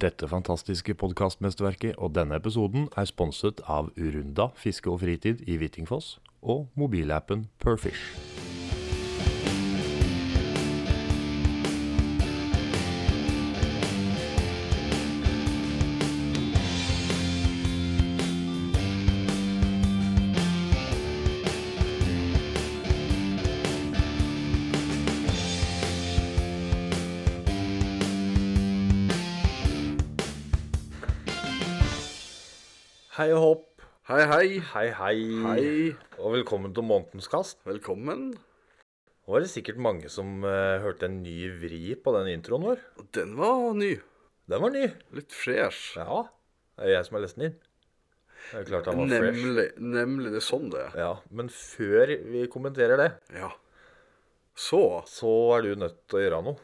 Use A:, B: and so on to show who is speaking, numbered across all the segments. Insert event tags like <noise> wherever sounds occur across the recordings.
A: Dette fantastiske podkastmesterverket og denne episoden er sponset av Urunda fiske og fritid i Hvittingfoss og mobilappen Perfish.
B: Hei og hopp.
C: Hei, hei.
B: Hei, hei.
C: Hei.
B: Og velkommen til månedens kast.
C: Velkommen.
B: Nå er det sikkert mange som eh, hørte en ny vri på den introen vår.
C: Den var ny.
B: Den var ny.
C: Litt fresh.
B: Ja. Det er jeg som har lest den inn. Det er jo klart han var fresh.
C: Nemlig, nemlig det er sånn det er.
B: Ja, Men før vi kommenterer det,
C: Ja. Så
B: så er du nødt til å gjøre noe.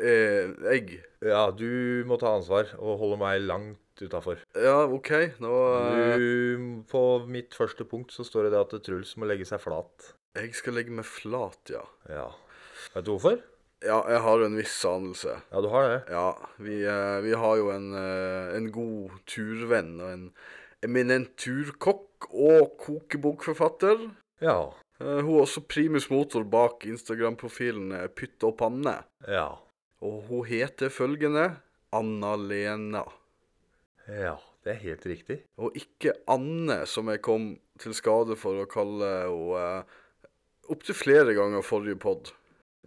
C: eh, egg.
B: Ja, du må ta ansvar og holde meg langt utafor.
C: Ja, OK. Nå eh,
B: På mitt første punkt så står det det at Truls må legge seg flat.
C: Jeg skal legge meg flat, ja.
B: Ja. Vet du hvorfor?
C: Ja, jeg har jo en viss anelse.
B: Ja, du har det.
C: Ja, vi, eh, vi har jo en, eh, en god turvenn og en eminent turkokk og kokebokforfatter.
B: Ja.
C: Eh, Hun er også primus motor bak Instagram-profilen eh, Pytt og panne.
B: Ja.
C: Og hun heter følgende Anna-Lena.
B: Ja. Det er helt riktig.
C: Og ikke Anne, som jeg kom til skade for å kalle henne eh, opptil flere ganger forrige pod.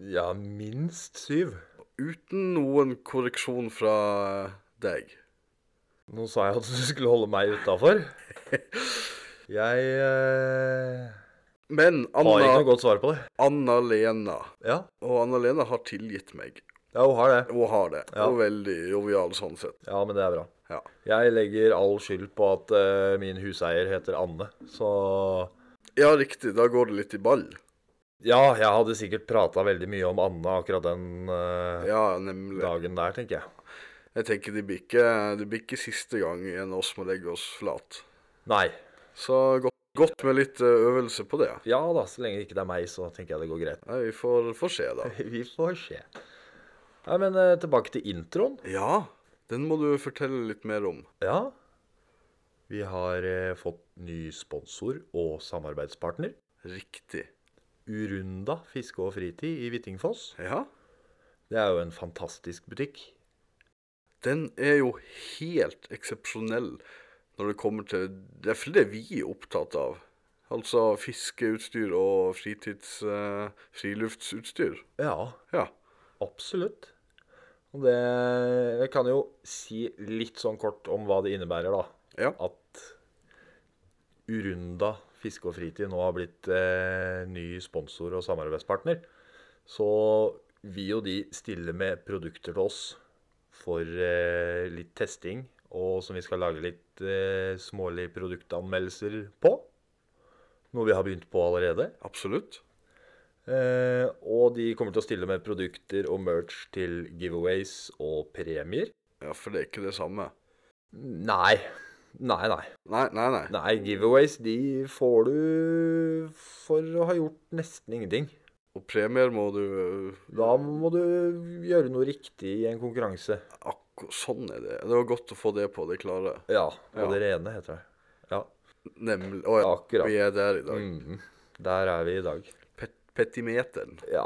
B: Ja, minst syv.
C: Uten noen korreksjon fra eh, deg.
B: Nå sa jeg at du skulle holde meg utafor. <laughs> Jeg eh,
C: Men
B: har ikke noe
C: Anna-
B: godt svar på det.
C: Anna-Lena
B: Ja,
C: Og Anna-Lena har tilgitt meg.
B: ja hun har det.
C: Hun har det.
B: Ja.
C: Hun er veldig jovial sånn sett.
B: Ja, men det er bra.
C: Ja.
B: Jeg legger all skyld på at eh, min huseier heter Anne, så
C: ja, riktig. Da går det litt i ball.
B: Ja, jeg hadde sikkert prata veldig mye om Anne akkurat den eh,
C: Ja, nemlig.
B: dagen der, tenker jeg.
C: Jeg tenker det blir ikke, det blir ikke siste gang en av oss må legge oss flat.
B: Nei.
C: Så godt, godt med litt eh, øvelse på det.
B: Ja da, så lenge det ikke er meg, så tenker jeg det går greit.
C: Nei, vi får, får se, da.
B: <laughs> Vi får se. Nei, men eh, tilbake til introen.
C: Ja, den må du fortelle litt mer om.
B: Ja. Vi har eh, fått ny sponsor og samarbeidspartner.
C: Riktig.
B: Urunda fiske og fritid i Hvittingfoss.
C: Ja,
B: Det er jo en fantastisk butikk.
C: den er jo helt eksepsjonell når det kommer til Det er fordi det vi er opptatt av. Altså fiskeutstyr og fritids... eh, friluftsutstyr.
B: Ja,
C: Ja.
B: absolutt. Og det Jeg kan jo si litt sånn kort om hva det innebærer, da.
C: Ja.
B: At Urunda fiske og fritid nå har blitt eh, ny sponsor og samarbeidspartner. Så vi og de stiller med produkter til oss for eh, litt testing, og som vi skal lage litt eh, smålige produktanmeldelser på. Noe vi har begynt på allerede.
C: Absolutt.
B: Eh, og de kommer til å stille med produkter og merch til giveaways og premier.
C: Ja, for det er ikke det samme.
B: Nei. Nei, nei.
C: Nei, nei, nei.
B: Nei, giveaways de får du for å ha gjort nesten ingenting.
C: Og premier må du eh,
B: Da må du gjøre noe riktig i en konkurranse.
C: Akko, sånn er det. Det var godt å få det på det klare.
B: Ja. Og
C: Ja.
B: det rene, heter det. Ja,
C: Nemlig. Å ja,
B: akkurat.
C: vi er der i dag.
B: Mhm. Der er vi i dag.
C: Pet petimeteren.
B: Ja.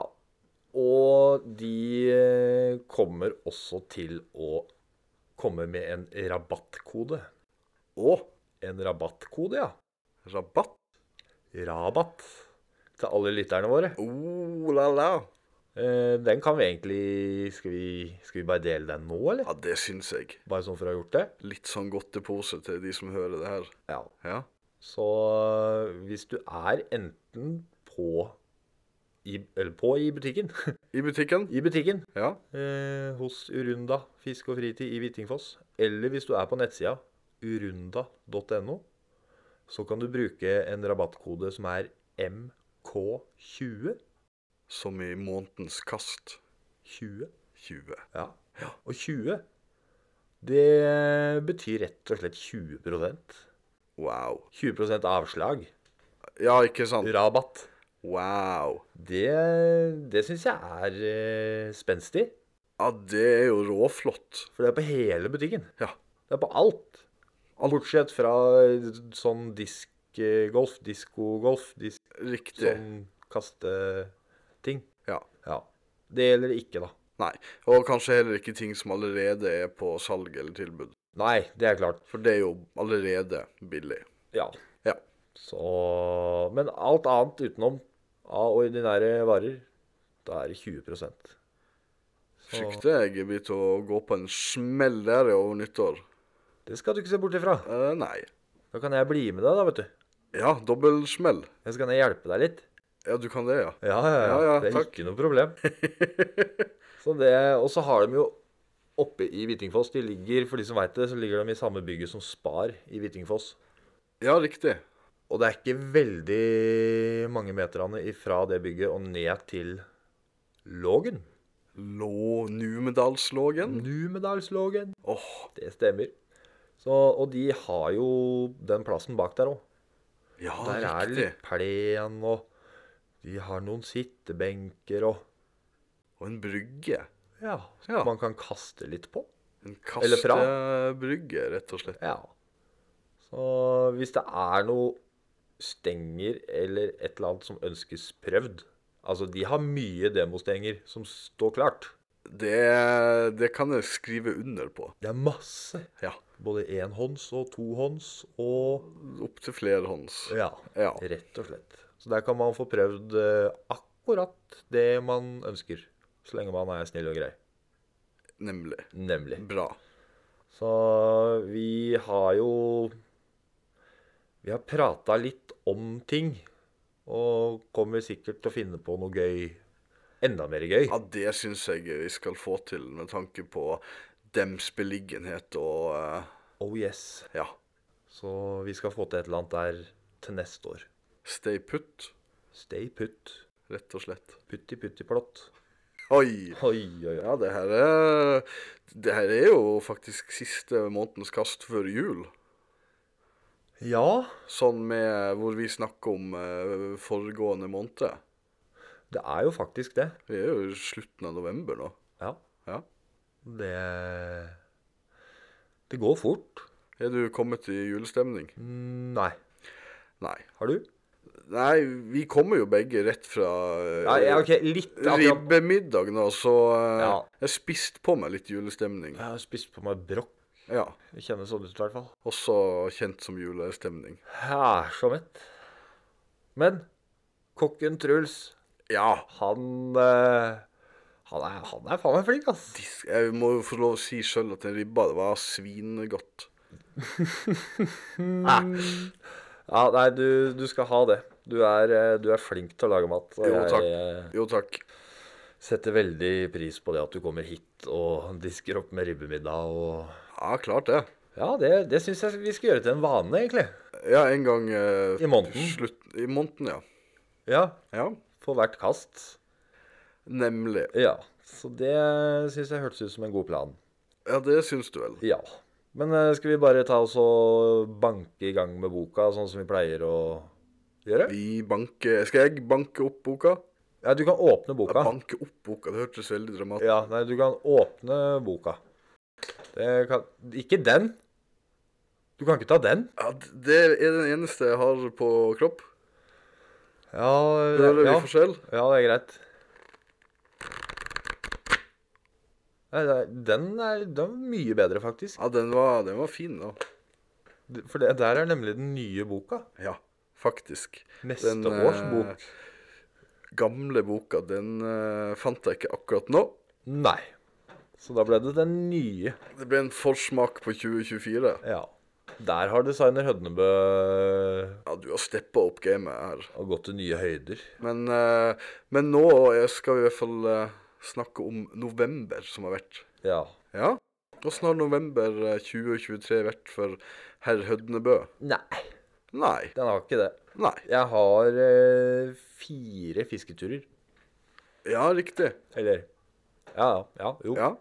B: Og de eh, kommer også til å komme med en rabattkode.
C: Å,
B: En rabattkode, ja.
C: rabatt.
B: Rabatt til alle lytterne våre.
C: Oh la la.
B: Eh, Den kan vi egentlig Skal vi, skal vi bare dele den nå, eller?
C: Ja, det syns jeg.
B: Bare sånn for å ha gjort det?
C: Litt sånn godtepose til de som hører det her.
B: Ja.
C: Ja.
B: Så øh, hvis du er enten på i, eller på i butikken <laughs>
C: I butikken.
B: I butikken
C: Ja.
B: eh, hos Urunda Fisk og Fritid i Hvittingfoss, eller hvis du er på nettsida urunda.no, så kan du bruke en rabattkode som er MK20.
C: Som i månedens kast
B: 20.
C: 20.
B: Ja. Og 20, det betyr rett og slett 20 20
C: Wow.
B: avslag.
C: Ja, ikke sant?
B: Rabatt.
C: Wow.
B: Det, det syns jeg er eh, spenstig.
C: Ja, det er jo råflott.
B: For det er på hele butikken.
C: Ja.
B: Det er på alt. Bortsett fra sånn diskgolf, diskogolf, disk,
C: Riktig.
B: sånn kasteting.
C: Ja.
B: Ja. Det gjelder ikke, da.
C: Nei. Og kanskje heller ikke ting som allerede er på salg eller tilbud.
B: Nei, det er klart.
C: For det er jo allerede billig.
B: Ja.
C: Ja.
B: Så Men alt annet utenom av ordinære varer, da er det 20
C: Frykter jeg jeg blir til å gå på en smell der over nyttår.
B: Det skal du ikke se bort ifra.
C: Eh, nei.
B: Da kan jeg bli med deg, da, vet du.
C: Ja, dobbeltsmell.
B: Jeg skal jeg hjelpe deg litt.
C: Ja, du kan det, ja.
B: Ja, ja, ja.
C: Ja, ja,
B: det er
C: takk.
B: ikke noe problem.
C: <laughs>
B: så det, og så har de jo oppe i Hvittingfoss De ligger, for de som veit det, så ligger de i samme bygget som Spar i Hvittingfoss.
C: Ja, riktig.
B: Og det er ikke veldig mange meterne ifra det bygget og ned til Lågen.
C: Lå Numedalslågen?
B: Numedalslågen.
C: Åh,
B: Det stemmer. Så, og de har jo den plassen bak der òg.
C: ja,
B: Der er det
C: Ah, riktig.
B: litt plen, og de har noen sittebenker og
C: Og en brygge.
B: Ja. som
C: Ja.
B: Man kan kaste litt på.
C: En
B: Eller fra.
C: kastebrygge, rett og slett.
B: Ja. Så hvis det er noe stenger eller et eller annet som ønskes prøvd Altså, de har mye demostenger som står klart.
C: Det, det kan jeg skrive under på.
B: Det er masse.
C: Ja.
B: Både enhånds og tohånds og
C: Opp til flerhånds.
B: Ja,
C: Ja.
B: rett og slett. Så der kan man få prøvd eh, akkurat det man ønsker. Så lenge man er snill og grei.
C: Nemlig.
B: Nemlig.
C: Bra.
B: Så vi har jo Vi har prata litt om ting. Og kommer sikkert til å finne på noe gøy. Enda mer gøy.
C: Ja, det syns jeg vi skal få til med tanke på dems beliggenhet og eh,
B: Oh yes.
C: ja,
B: Så vi skal få til et eller annet der til neste år.
C: stay put,
B: Stay put.
C: rett og slett.
B: Putti putti plott.
C: Oi!
B: Oi, oi, oi.
C: Ja, det her er Det her er jo faktisk siste månedens kast før jul.
B: Ja,
C: Sånn med hvor vi snakker om eh, foregående måned.
B: det er jo faktisk det.
C: Vi er jo i slutten av november nå.
B: Ja.
C: Ja.
B: Det Det går fort.
C: Er du kommet i julestemning?
B: Mm, Nei.
C: Nei.
B: Har du?
C: Nei, vi kommer jo begge rett fra eh,
B: Nei, ja, OK, litt. akkurat-
C: Ribbemiddag nå, så eh,
B: Ja.
C: jeg spiste på meg litt julestemning.
B: Jeg har spist på meg brokk.
C: Ja,
B: Det kjennes sånn ut, i hvert fall.
C: Også kjent som julestemning.
B: Jeg er så mett. Men kokken Truls,
C: Ja,
B: han eh, Han er, han er faen meg flink, ass.
C: dis- jeg må jo få lov å si sjøl at den ribba det var svinegodt.
B: Ja, nei, du, du skal ha det. Du er, eh, du er flink til å lage mat. og
C: Jo, takk.
B: Jeg eh,
C: Jo takk.
B: setter veldig pris på det at du kommer hit og disker opp med ribbemiddag og
C: Ja, klart det.
B: Ja, det, det syns jeg vi skal gjøre til en vane, egentlig.
C: Ja, en gang eh,
B: I måneden.
C: Slutt, I måneden, ja.
B: Ja.
C: ja.
B: For hvert kast.
C: Nemlig.
B: Ja. Så det syns jeg hørtes ut som en god plan.
C: Ja, det syns du vel.
B: Ja. Men eh, skal vi bare ta oss og banke i gang med boka, sånn som vi pleier å gjøre?
C: Vi banker Skal jeg banke opp boka?
B: Ja, du kan åpne
C: Ja.
B: boka.
C: Banke opp boka, det hørtes veldig dramatisk
B: Ja, nei, du kan åpne boka. Det kan Ikke den! Du kan ikke ta den.
C: Ja, d- det er den eneste jeg har på kropp.
B: Ja, det,
C: Hører vi
B: ja.
C: forskjell?
B: ja det er greit. Nei, nei, den er, den er mye bedre, faktisk.
C: Ja, den var, den var fin, da.
B: For det der er nemlig den nye boka.
C: Ja, faktisk.
B: Neste
C: Den,
B: års
C: eh,
B: bok.
C: Gamle boka, den eh, fant jeg ikke akkurat nå.
B: Nei. Så da ble det den nye.
C: Det ble en forsmak på 2024.
B: Ja. Der har designer Hødnebø eh,
C: Ja, du har steppa opp gamet her.
B: gått til nye høyder.
C: Men, eh, men nå skal vi i hvert fall eh, snakke om november som har vært.
B: Ja.
C: Ja? Åssen har november eh, 2023 vært for herr Hødnebø?
B: Nei,
C: Nei.
B: den har ikke det.
C: Nei.
B: Jeg har eh, fire fisketurer.
C: Ja, riktig.
B: Eller Ja, ja. ja jo,
C: Ja.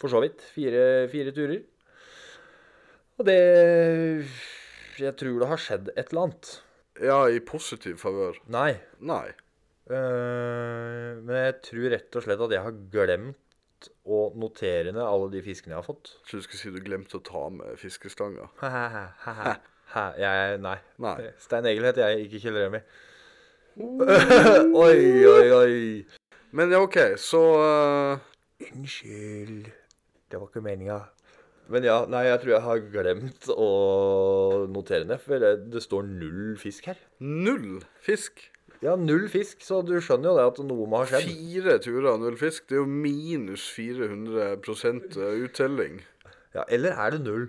B: for så vidt. Fire, fire turer. Og det Jeg tror det har skjedd et eller annet.
C: Ja, i positiv favør.
B: Nei.
C: Nei.
B: Eh, men jeg tror rett og slett at jeg har glemt tatt og noterer ned alle de fiskene jeg har fått.
C: Jeg trodde du skulle si du glemte å ta med fiskestanga.
B: Hæ, jeg, nei.
C: Nei.
B: Stein Egil heter jeg, ikke Kjell Remi. <laughs> oi, oi, oi.
C: Men ja, OK, så eh,
B: Unnskyld. Det var ikke meninga. Men ja, nei, jeg tror jeg har glemt å notere ned, for det, det står null fisk her.
C: null fisk.
B: Ja, null fisk, så du skjønner jo det at noe må ha skjedd.
C: Fire turer og null fisk. Det er jo minus 400 eh, uttelling.
B: Ja, eller er det null?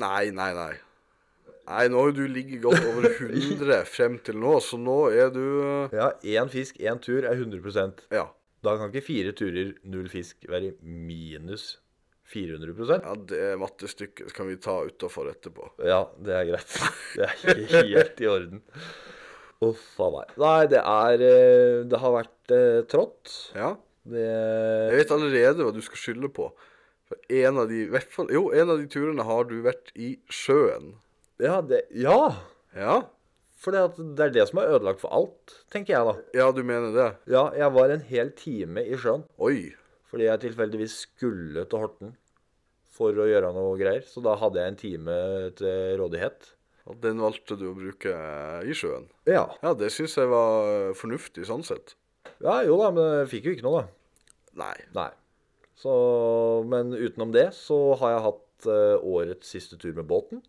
C: Nei, nei, nei. Nei, nå har jo du ligget godt over 100 frem til nå, så nå er du eh,
B: Ja, én fisk, én tur er 100
C: Ja.
B: Da kan ikke fire turer, null fisk være minus 400
C: ja det mattestykket kan vi ta utafor etterpå.
B: Ja, det er greit. <laughs> Det er ikke helt i orden. Uff a meg. Nei, det er eh, Det har vært eh, trått.
C: Ja. Jeg
B: Det
C: vet allerede hva du skal skylde på. For en av de, i hvert fall, jo, en av de turene har du vært i sjøen.
B: Ja, det Ja!
C: Ja?
B: For det er det som er ødelagt for alt, tenker jeg da.
C: Ja, du mener det?
B: Ja, jeg var en hel time i sjøen
C: Oi.
B: fordi jeg tilfeldigvis skulle til Horten for å gjøre noe greier. Så da hadde jeg en time til rådighet.
C: Og den valgte du å bruke eh, i sjøen.
B: Ja.
C: Ja, det syns jeg var fornuftig sånn sett.
B: ja jo da, men jeg fikk jo ikke noe, da.
C: Nei.
B: Nei. Så, men utenom det så har jeg hatt eh, årets siste tur med båten.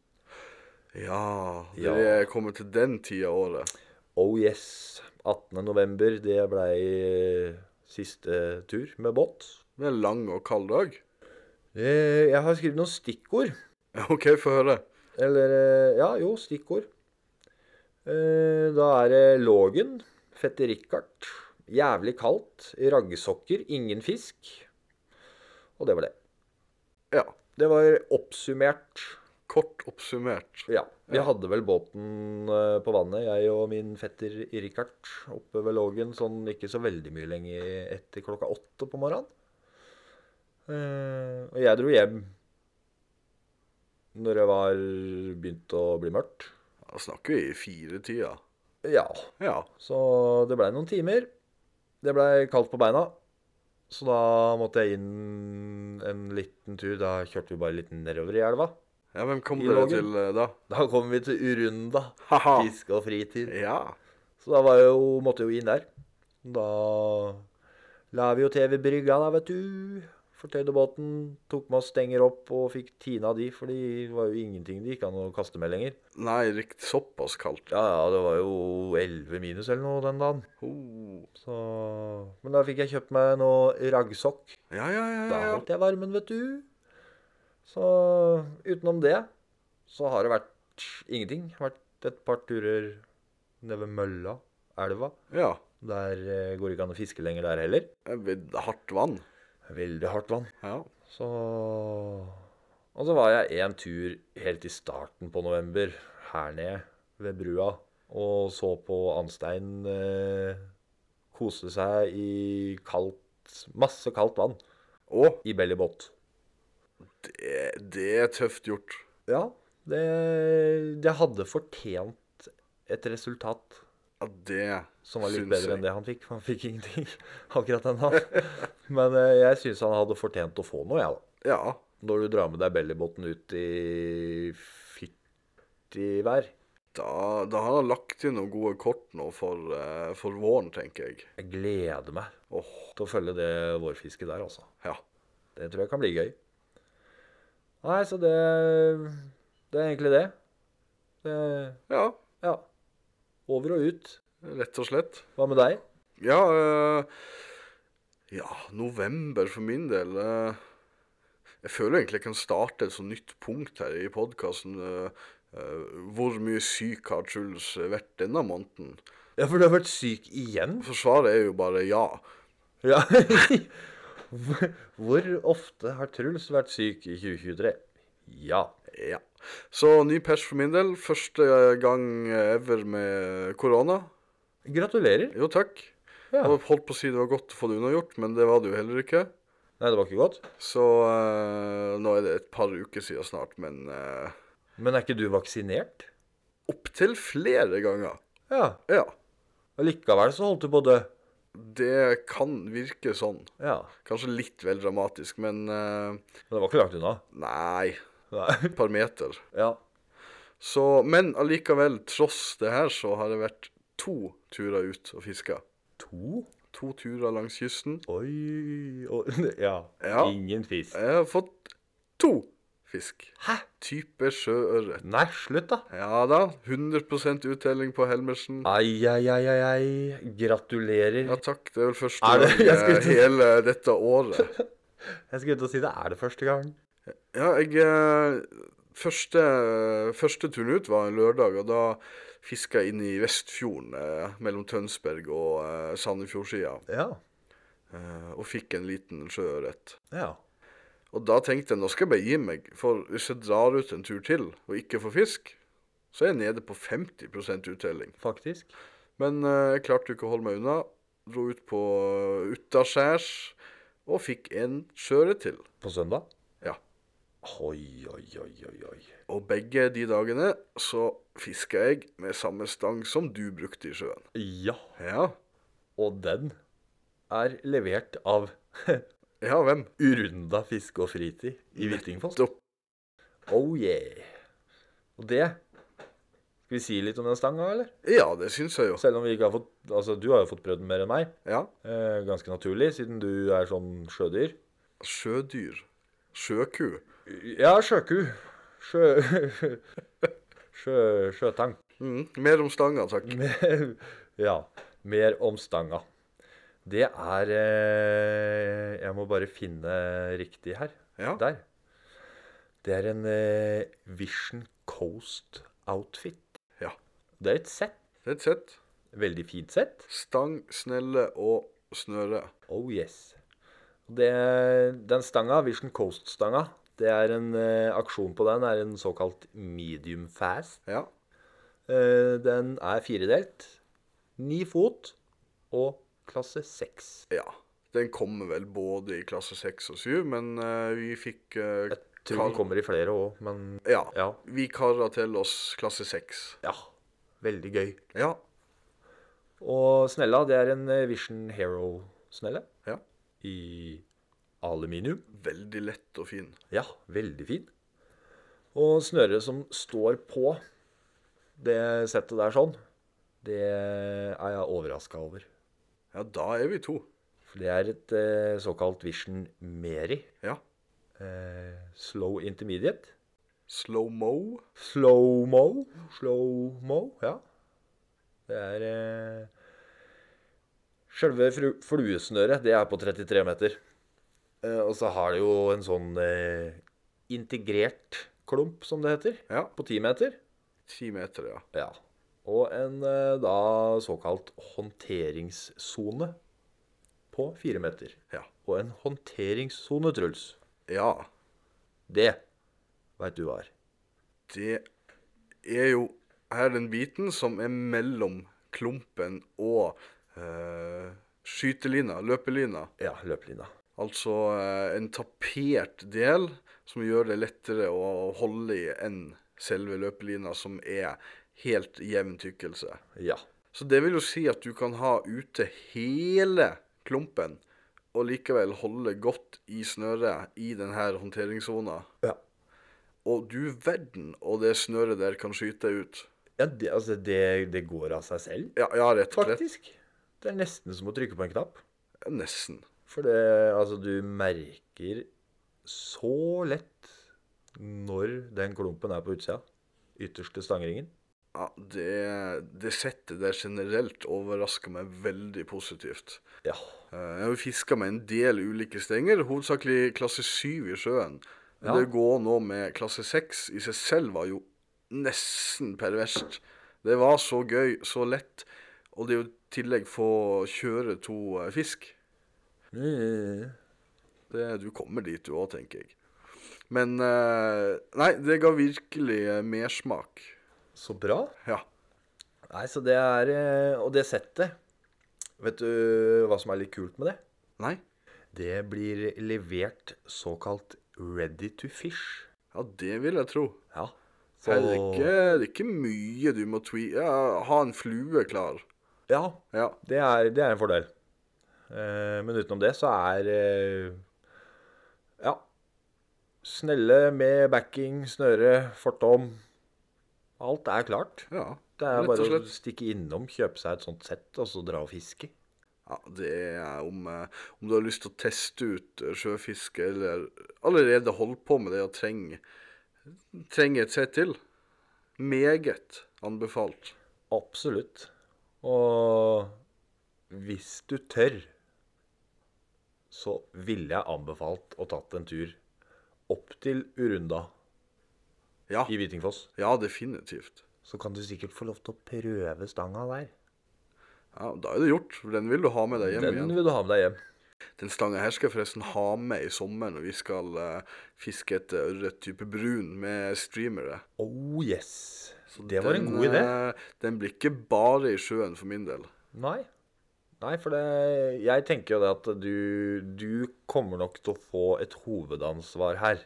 C: Ja,
B: Ja.
C: dere er kommet til den tida av året.
B: Oh yes. 18. november, det blei eh, siste tur med båt.
C: Det er en lang og kald dag.
B: Eh, jeg har skrevet noen stikkord.
C: OK, få høre.
B: Eller eh, Ja, jo, stikkord. Eh, da er det Lågen, Fette Rikard, Jævlig kaldt, raggesokker, ingen fisk. Og det var det.
C: Ja.
B: Det var oppsummert
C: Kort oppsummert.
B: Ja. Vi hadde vel båten eh, på vannet, jeg og min fetter Rikard, oppe ved Lågen sånn ikke så veldig mye lenger etter klokka åtte på morgenen. Eh, Og jeg dro hjem når det var begynt å bli mørkt.
C: Da snakker vi i firetida.
B: Ja.
C: Ja.
B: Så det blei noen timer. Det blei kaldt på beina. Så da måtte jeg inn en liten tur. Da kjørte vi bare litt nedover i elva.
C: ja. Hvem kom
B: I
C: dere
B: Lågen?
C: til eh, da?
B: Da kom vi til Urunda.
C: Haha.
B: Fiske og fritid.
C: Ja.
B: Så da var jeg jo, måtte jeg jo inn der. Da la vi jo til ved brygga, da, vet du. Fortøyde båten, tok med oss stenger opp og fikk tina de, for det var jo ingenting det gikk an å kaste med lenger.
C: Nei, riktig såpass kaldt.
B: Ja, ja, det var jo 11 minus eller noe den dagen.
C: Oh.
B: Så Men da fikk jeg kjøpt meg noe raggsokk.
C: Ja, ja, ja.
B: Da
C: ja, ja.
B: holdt jeg varmen, vet du. Så utenom det så har det vært ingenting. Det har vært et par turer nede ved mølla, elva.
C: ja.
B: Der eh, går det ikke an å fiske lenger der heller.
C: Det er ved Hardt vann.
B: Veldig hardt vann.
C: Ja.
B: Så Og så var jeg en tur helt i starten på november her nede ved brua og så på Anstein eh, kose seg i kaldt Masse kaldt vann
C: Å,
B: i bellybåt.
C: det, det er tøft gjort.
B: Ja, det, det hadde fortjent et resultat
C: Ja, det
B: som var litt
C: syns
B: bedre
C: jeg.
B: enn det han fikk. for Han fikk ingenting <laughs> akkurat ennå. Men eh, jeg syns han hadde fortjent å få noe, jeg, da.
C: Ja.
B: Når du drar med deg bellybotten ut i fyttivær.
C: Da, da har han lagt inn noen gode kort nå for, eh, for våren, tenker jeg.
B: Jeg gleder meg
C: Åh,
B: til å følge det vårfisket der, altså.
C: ja.
B: Det tror jeg kan bli gøy. Nei, så det Det er egentlig det. det
C: Ja,
B: ja. Over og ut.
C: rett og slett.
B: Hva med deg?
C: Ja, eh, ja november for min del eh, Jeg føler egentlig jeg kan starte et sånt nytt punkt her i podkasten. hvor mye syk har Truls vært denne måneden?
B: Ja, for du har vært syk igjen?
C: For svaret er jo bare ja.
B: Ja. Hvor- <laughs> Hvor ofte har Truls vært syk i 2023? Ja.
C: Ja. Så ny pers for min del. Første gang ever med korona.
B: Gratulerer.
C: Jo, takk.
B: Ja.
C: Jeg holdt på å si det var godt å få det unnagjort, men det var det jo heller ikke.
B: Nei, det var ikke godt.
C: Så eh, nå er det et par uker siden snart, men eh,
B: Men er ikke du vaksinert?
C: opptil flere ganger.
B: Ja.
C: Ja.
B: Allikevel så holdt du på å dø.
C: Det kan virke sånn.
B: Ja.
C: Kanskje litt vel dramatisk, men eh,
B: Men det var ikke langt unna.
C: nei,
B: Nei.
C: et par meter.
B: Ja.
C: Så, men allikevel, tross det her, så har det vært to turer ut og fiska.
B: To?
C: To turer langs kysten.
B: Oi <laughs> og, ja.
C: Ja.
B: Ingen fisk.
C: Jeg har fått to fisk.
B: Hæ?
C: Type sjøørret.
B: Nei, slutt, da.
C: Ja da, 100 uttelling på Helmersen.
B: Ai, ai, ai, ai, ai. Gratulerer.
C: Ja takk, det er vel første
B: Er det-
C: gang
B: jeg skulle
C: eh,
B: til å si-
C: hele dette året.
B: Jeg skulle til å si det er det første gang.
C: Ja, jeg eh, Første, første turen ut var en lørdag, og da fiska jeg inn i Vestfjorden eh, mellom Tønsberg og eh, Sandefjordsida.
B: Ja.
C: eh, og fikk en liten sjøørret.
B: Ja.
C: Og da tenkte jeg nå skal jeg bare gi meg, for hvis jeg drar ut en tur til og ikke får fisk, så er jeg nede på 50 uttelling.
B: Faktisk.
C: Men eh, jeg klarte jo ikke å holde meg unna. Dro ut på eh, utaskjærs og fikk en sjøørret til.
B: På søndag?
C: Ja.
B: Oi, oi, oi, oi, oi.
C: Og begge de dagene så fiska jeg med samme stang som du brukte i sjøen.
B: Ja.
C: Ja,
B: Og den er levert av
C: ja hvem?
B: Urunda fiske og fritid i Hvittingfoss.
C: Nettopp.
B: Oh yeah. Og det Skal vi si litt om den stanga, eller?
C: Ja, det syns jeg jo.
B: Selv om vi ikke har fått Altså, du har jo fått prøvd den mer enn meg.
C: Ja.
B: Eh, ganske naturlig, siden du er sånn sjødyr.
C: Sjødyr. Sjøku.
B: Ja, sjøku. Sjø... <laughs> sjø sjøtang.
C: Mm. Mer om stanga, takk.
B: Mer- <laughs> ja. Mer om stanga. Det er eh, Jeg må bare finne riktig her.
C: Ja.
B: Der. Det er en eh, Vision Coast outfit.
C: Ja.
B: Det er et sett.
C: Rett sett.
B: Veldig fint sett.
C: Stang, snelle og snøre.
B: Oh yes. Det, den stanga, Vision Coast-stanga, det er en eh, aksjon på den er en såkalt medium fast.
C: Ja.
B: Eh, den er firedelt. Ni fot og klasse seks.
C: ja. Den kommer vel både i klasse 6 og 7, men eh, vi fikk eh,
B: Jeg tror den
C: kar-
B: kommer i flere òg, men
C: ja.
B: ja.
C: Vi kara til oss klasse 6.
B: ja. Veldig gøy.
C: Ja.
B: Og snella, det er en eh, Vision Hero-snelle
C: ja.
B: i aluminium.
C: Veldig lett og fin.
B: Ja, veldig fin. Og snøret som står på det settet der sånn, det er jeg overraska over.
C: Ja, da er vi to.
B: For det er et eh, såkalt Vision Meri.
C: Ja.
B: Eh, slow intermediate.
C: Slow-mo.
B: Slow-mo. Slow-mo, ja. Det er eh, Sjølve fru- fluesnøret, det er på 33 meter. Eh, og så har det jo en sånn eh, integrert klump, som det heter,
C: Ja.
B: på 10 meter.
C: Ti meter, ja.
B: Ja. Og en eh, da såkalt håndteringssone på 4 meter.
C: Ja.
B: Og en håndteringssone, Truls,
C: Ja.
B: det veit du hva er.
C: Det er jo her den biten som er mellom klumpen og eh, skytelina, løpelina.
B: Ja, løpelina.
C: Altså eh, en tapert del som gjør det lettere å holde i enn selve løpelina, som er helt jevn tykkelse.
B: Ja.
C: Så det vil jo si at du kan ha ute hele klumpen, og likevel holde godt i snøret i denne håndteringssona.
B: ja.
C: Og du verden, og det snøret der kan skyte ut.
B: Ja, det, altså det, det går av seg selv,
C: Ja, ja rett og slett.
B: faktisk. Det er nesten som å trykke på en knapp.
C: Nesten.
B: For det, altså, du merker så lett når den klumpen er på utsida. Ytterste stangeringen.
C: Ja, det, det settet der generelt overrasker meg veldig positivt.
B: Ja.
C: Eh, Jeg har jo fiska med en del ulike stenger, hovedsakelig klasse 7 i sjøen. Men
B: Ja.
C: det å gå nå med klasse 6 i seg selv var jo nesten perverst. Det var så gøy, så lett. Og det er jo i tillegg få kjøre to eh, fisk.
B: Mm.
C: Det, du kommer dit du òg, tenker jeg. Men eh, Nei, det ga virkelig eh, mersmak.
B: Så bra.
C: Ja.
B: Nei, så det er eh, Og det settet Vet du hva som er litt kult med det?
C: Nei?
B: Det blir levert såkalt ready to fish.
C: Ja, det vil jeg tro.
B: Ja.
C: Så... Det, er ikke, det er ikke mye du må twe... Ja, ha en flue klar.
B: Ja,
C: Ja.
B: det er, det er en fordel. Eh, Men utenom det så er eh, Ja. Snelle med backing, snøre, fortom. Alt er klart.
C: Ja,
B: Det er
C: rett og
B: bare å
C: slett.
B: stikke innom, kjøpe seg et sånt sett og så dra og fiske.
C: Ja, det er om, eh, om du har lyst til å teste ut eh, sjøfiske, eller allerede holdt på med det og trenger trenger et sett til. Meget anbefalt.
B: Absolutt. Og hvis du tør, så ville jeg anbefalt å tatt en tur opp til Urunda
C: Ja,
B: i Hvitingfoss.
C: ja definitivt.
B: Så kan du sikkert få lov til å prøve stanga der.
C: Ja, Da er det gjort. for Den vil du ha med deg hjem
B: Den
C: igjen.
B: vil du ha med deg hjem.
C: Den stanga her skal jeg forresten ha med i sommer når vi skal eh, fiske etter ørret type brun med streamere.
B: Oh yes. det var en
C: Den,
B: god idé.
C: eh, Den blir ikke bare i sjøen for min del.
B: Nei. Nei, for det, jeg tenker jo det at du, du kommer nok til å få et hovedansvar her.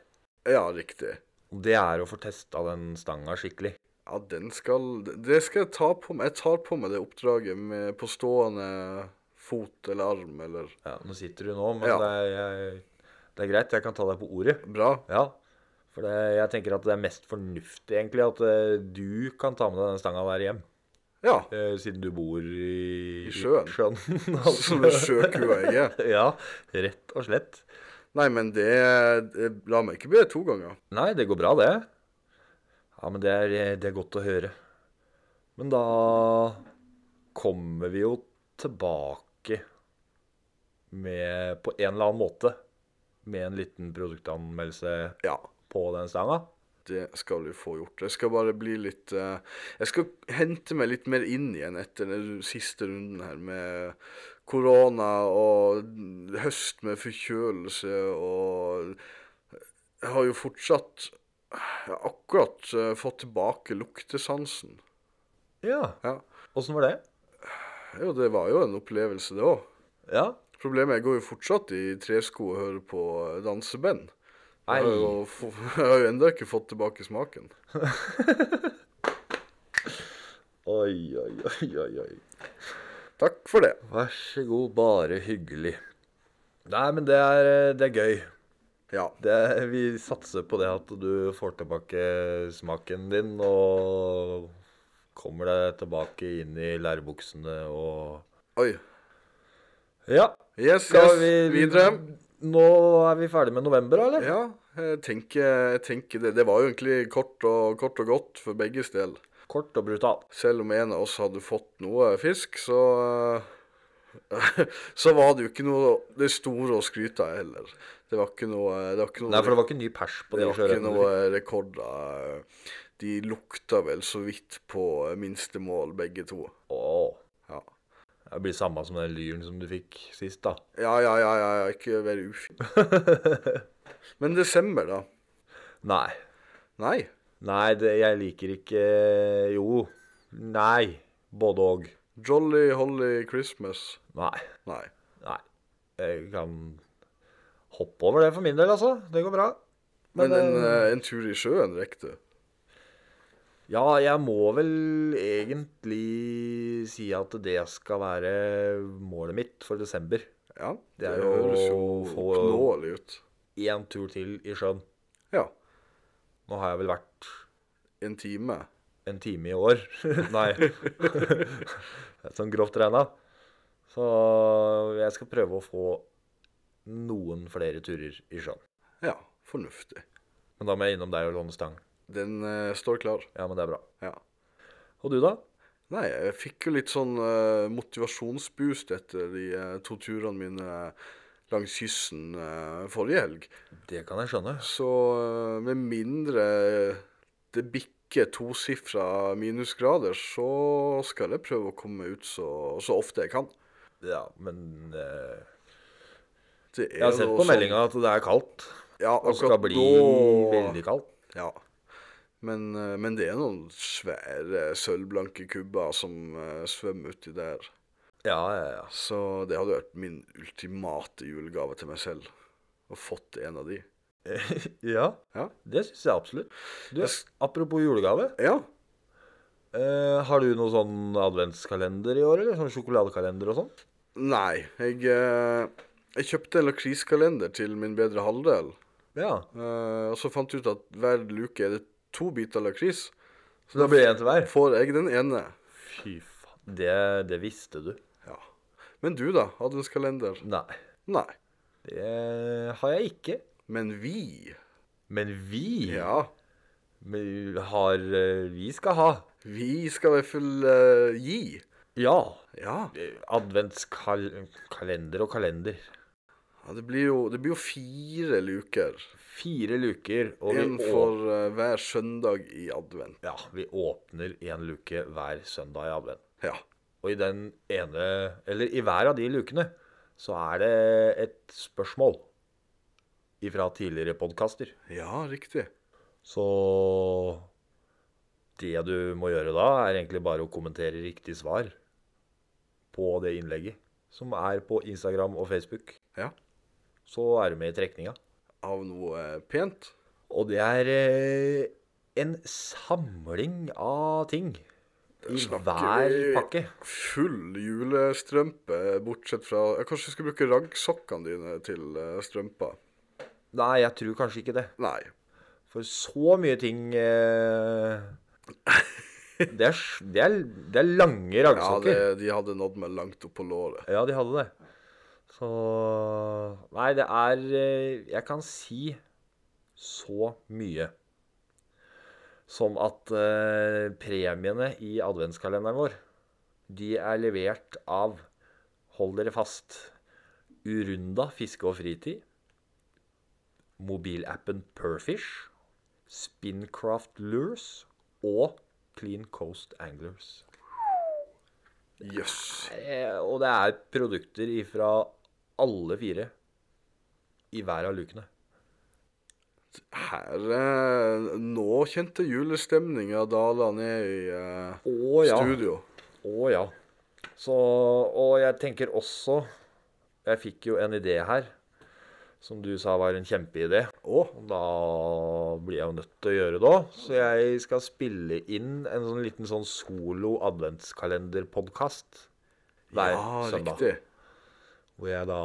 C: Ja, riktig.
B: Og Det er å få testa den stanga skikkelig.
C: Ja, den skal Det skal jeg ta på meg. Jeg tar på meg det oppdraget med på stående fot eller arm eller
B: Ja, nå sitter du nå, men
C: Ja.
B: det, er, jeg, det er greit, jeg kan ta deg på ordet.
C: Bra.
B: Ja, for det, jeg tenker at det er mest fornuftig egentlig at eh, du kan ta med deg den stanga der hjem.
C: Ja.
B: eh, Siden du bor i,
C: I sjøen.
B: sjøen. <laughs> altså.
C: Som en sjøkua jeg er.
B: ja, rett og slett.
C: Nei, men det, det La meg ikke bli det to ganger.
B: Nei, det går bra, det. Ja, men det er, eh, det er godt å høre. Men da kommer vi jo tilbake med På en eller annen måte med en liten produktanmeldelse
C: Ja.
B: på den stanga.
C: Det skal du få gjort. Jeg skal bare bli litt eh, Jeg skal hente meg litt mer inn igjen etter den ru- siste runden her med korona og høst med forkjølelse og Jeg har jo fortsatt Jeg har akkurat eh, fått tilbake luktesansen.
B: Ja.
C: Ja.
B: Åssen var det?
C: Jo, det var jo en opplevelse, det òg.
B: Ja.
C: Problemet er jeg går jo fortsatt i tresko og hører på eh, danseband. Jeg har
B: Ei.
C: jo, få- <laughs> jeg har jo ennå ikke fått tilbake smaken.
B: Oi, oi, oi, oi, oi.
C: Takk for det.
B: Vær så god, bare hyggelig. Nei, men det er, eh, det er gøy.
C: Ja.
B: Det, vi satser på det at du får tilbake smaken din, og kommer deg tilbake inn i lærebuksene og
C: Oi.
B: Ja.
C: Yes,
B: Skal
C: yes.
B: vi
C: Videre.
B: Nå er vi ferdig med november, eller?
C: Ja, jeg tenker, jeg tenker det. Det var jo egentlig kort og, kort og godt for begges del.
B: Kort og brutalt.
C: Selv om en av oss hadde fått noe fisk, så eh, <laughs> Så var det jo ikke noe det store å skryte av heller. Det var ikke noe Det var ikke noe,
B: Nei, for det var ikke ny pers på de
C: det var ikke
B: sjøørretene.
C: noe rekorder. De lukta vel så vidt på minstemål, begge to.
B: Åh,
C: Ja.
B: Det blir samme som den lyren som du fikk sist, da.
C: Ja, ja, ja, ja, ja, ikke vær ufin.
B: <laughs>
C: Men desember, da?
B: Nei.
C: Nei.
B: Nei, det, jeg liker ikke Jo. Nei. Både og.
C: Jolly Holly Christmas?
B: Nei.
C: Nei.
B: Nei. Jeg kan hoppe over det for min del, altså. Det går bra.
C: Men,
B: Men,
C: en, eh, en tur i sjøen rekker du?
B: Ja, jeg må vel egentlig si at det skal være målet mitt for desember.
C: Ja,
B: Det er jo
C: høres jo
B: få-
C: oppnåelig ut.
B: Én tur til i sjøen.
C: Ja,
B: Nå har jeg vel vært
C: en time.
B: en time i år. <laughs> Nei. sånn grovt regna. Så jeg skal prøve å få noen flere turer i sjøen.
C: Ja, fornuftig.
B: Men da må jeg innom deg og låne stang.
C: Den eh, står klar.
B: Ja, men det er bra.
C: Ja.
B: Og du, da?
C: Nei, jeg fikk jo litt sånn eh, motivasjonsboost etter de eh, to turene mine langs kysten eh, forrige helg.
B: Det kan jeg skjønne.
C: Så eh, med mindre det bikker tosifra minusgrader, så skal jeg prøve å komme ut så, så ofte jeg kan.
B: Ja, men eh,
C: Det er
B: Jeg har sett
C: jo
B: på
C: sånn-
B: meldinga at det er kaldt.
C: Ja,
B: Og skal
C: akkurat
B: bli
C: nå-
B: veldig kaldt.
C: Ja. Men, eh, men det er noen svære sølvblanke kubber som eh, svømmer uti der.
B: Ja, ja, ja.
C: Så det hadde vært min ultimate julegave til meg selv. Å fått en av de.
B: <laughs> ja.
C: Ja.
B: Det syns jeg absolutt. Du,
C: Jeg s-
B: apropos julegave.
C: Ja.
B: Eh, har du noen sånn adventskalender i år, eller? Sånn sjokoladekalender og sånn?
C: Nei, jeg, eh, jeg kjøpte en lakriskalender til min bedre halvdel.
B: Ja,
C: eh, og så fant jeg ut at hver luke er det to biter lakris.
B: Så da blir det en til hver?
C: Får jeg den ene.
B: Fy faen. Det, det visste du.
C: Ja. Men du, da? Adventskalender?
B: Nei,
C: Nei.
B: det har jeg ikke.
C: Men vi?
B: Men vi,
C: Ja.
B: men har eh, Vi skal ha.
C: Vi skal i hvert fall eh, gi.
B: Ja.
C: Ja.
B: eh, Adventskalender og kalender.
C: ja det, blir jo, det blir jo fire luker.
B: Fire luker, og
C: Én
B: vi,
C: for
B: åp
C: eh, hver søndag i advent.
B: ja, vi åpner én luke hver søndag i advent.
C: Ja.
B: Og i den ene, eller i hver av de lukene, så er det et spørsmål ifra tidligere podkaster.
C: Ja, riktig.
B: Så det du må gjøre da, er egentlig bare å kommentere riktig svar på det innlegget, som er på Instagram og Facebook.
C: Ja.
B: Så er du med i trekninga.
C: Av noe eh, pent.
B: Og det er eh, en samling av ting i
C: snakker
B: hver
C: vi-
B: pakke.
C: Full julestrømpe, bortsett fra Jeg kanskje skulle bruke raggsokkene dine til eh, strømpa.
B: Nei, jeg tror kanskje ikke det.
C: Nei.
B: For så mye ting
C: <laughs>
B: eh, det, er, s- det, er, det er lange
C: Ja,
B: raggsokker.
C: det, de hadde nådd meg langt opp på låret.
B: Ja, de hadde det. Så Nei, det er eh, Jeg kan si så mye som at eh, premiene i adventskalenderen vår, de er levert av Hold dere fast. Urunda fiske og fritid. Mobilappen Perfish. Spincraft Lures. Og Clean Coast Anglers.
C: Jøss. Yes.
B: Eh, Og det er produkter ifra alle fire i hver av lukene.
C: Her eh, Nå kjente julestemninga dala ned i eh,
B: Å ja.
C: studio.
B: Å ja. Så, og jeg tenker også Jeg fikk jo en idé her som du sa var en kjempeidé.
C: Å,
B: Og da blir jeg jo nødt til å gjøre det òg. Så jeg skal spille inn en sånn liten sånn solo adventskalenderpodkast hver
C: ja,
B: søndag.
C: riktig.
B: Hvor jeg da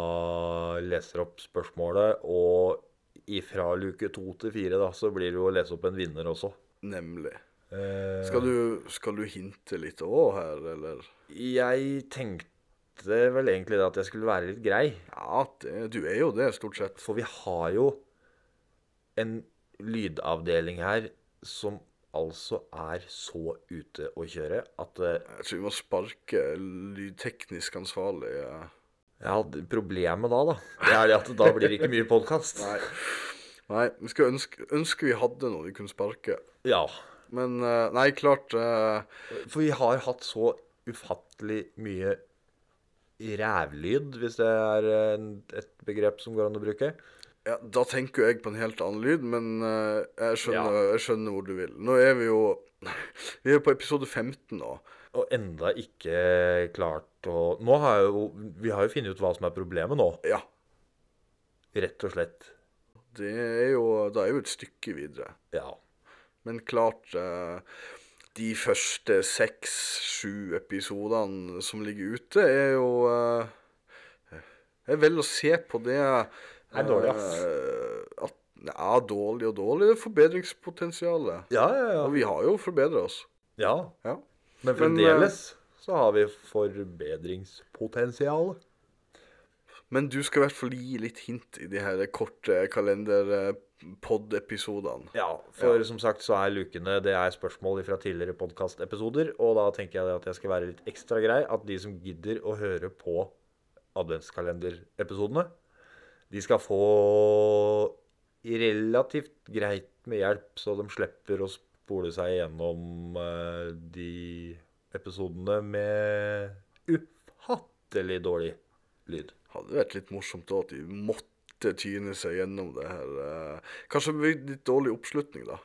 B: leser opp spørsmålet, og ifra luke to til fire da, så blir det jo å lese opp en vinner også.
C: Nemlig.
B: Eh,
C: Skal du, skal du hinte litt òg her, eller?
B: Jeg tenkte vel egentlig det at jeg skulle være litt grei,
C: Ja, det, du er jo det, stort sett.
B: for vi har jo en lydavdeling her som altså er så ute å kjøre at eh,
C: Jeg tror vi må sparke lydteknisk ansvarlig. eh.
B: jeg hadde problemet da, da. Det er det at da blir det ikke mye podkast.
C: Nei. Nei, vi skal ønske, ønske vi hadde noe vi kunne sparke.
B: Ja.
C: Men eh, nei, klart eh,
B: For vi har hatt så ufattelig mye rævlyd, hvis det er en, et begrep som går an å bruke.
C: ja, Da tenker jo jeg på en helt annen lyd, men eh, jeg, skjønner, jeg skjønner hvor du vil. Nå er vi jo Vi er på episode 15 nå.
B: Og enda ikke klart å Nå har jeg jo Vi har jo funnet ut hva som er problemet nå,
C: Ja.
B: rett og slett.
C: Det er jo Da er vi et stykke videre.
B: Ja.
C: Men klart eh, De første seks-sju episodene som ligger ute, er jo eh, er vel å se på det
B: Er dårlig, ass.
C: eh, at, ja, dårlig og dårlig. Det er forbedringspotensialet.
B: Ja, ja, ja.
C: Og vi har jo forbedra oss.
B: ja.
C: Ja.
B: Men eh, fremdeles så har vi forbedringspotensial.
C: Men du skal i hvert fall gi litt hint i de her korte kalenderpod-episodene.
B: Ja, for som sagt så er lukene Det er spørsmål fra tidligere podkastepisoder. Og da tenker jeg at jeg skal være litt ekstra grei. At de som gidder å høre på adventskalenderepisodene, de skal få relativt greit med hjelp, så de slipper å spole seg gjennom eh, de episodene med ufattelig dårlig lyd.
C: Hadde vært litt morsomt da at de måtte tyne seg gjennom det her. eh, Kanskje med litt dårlig oppslutning, da.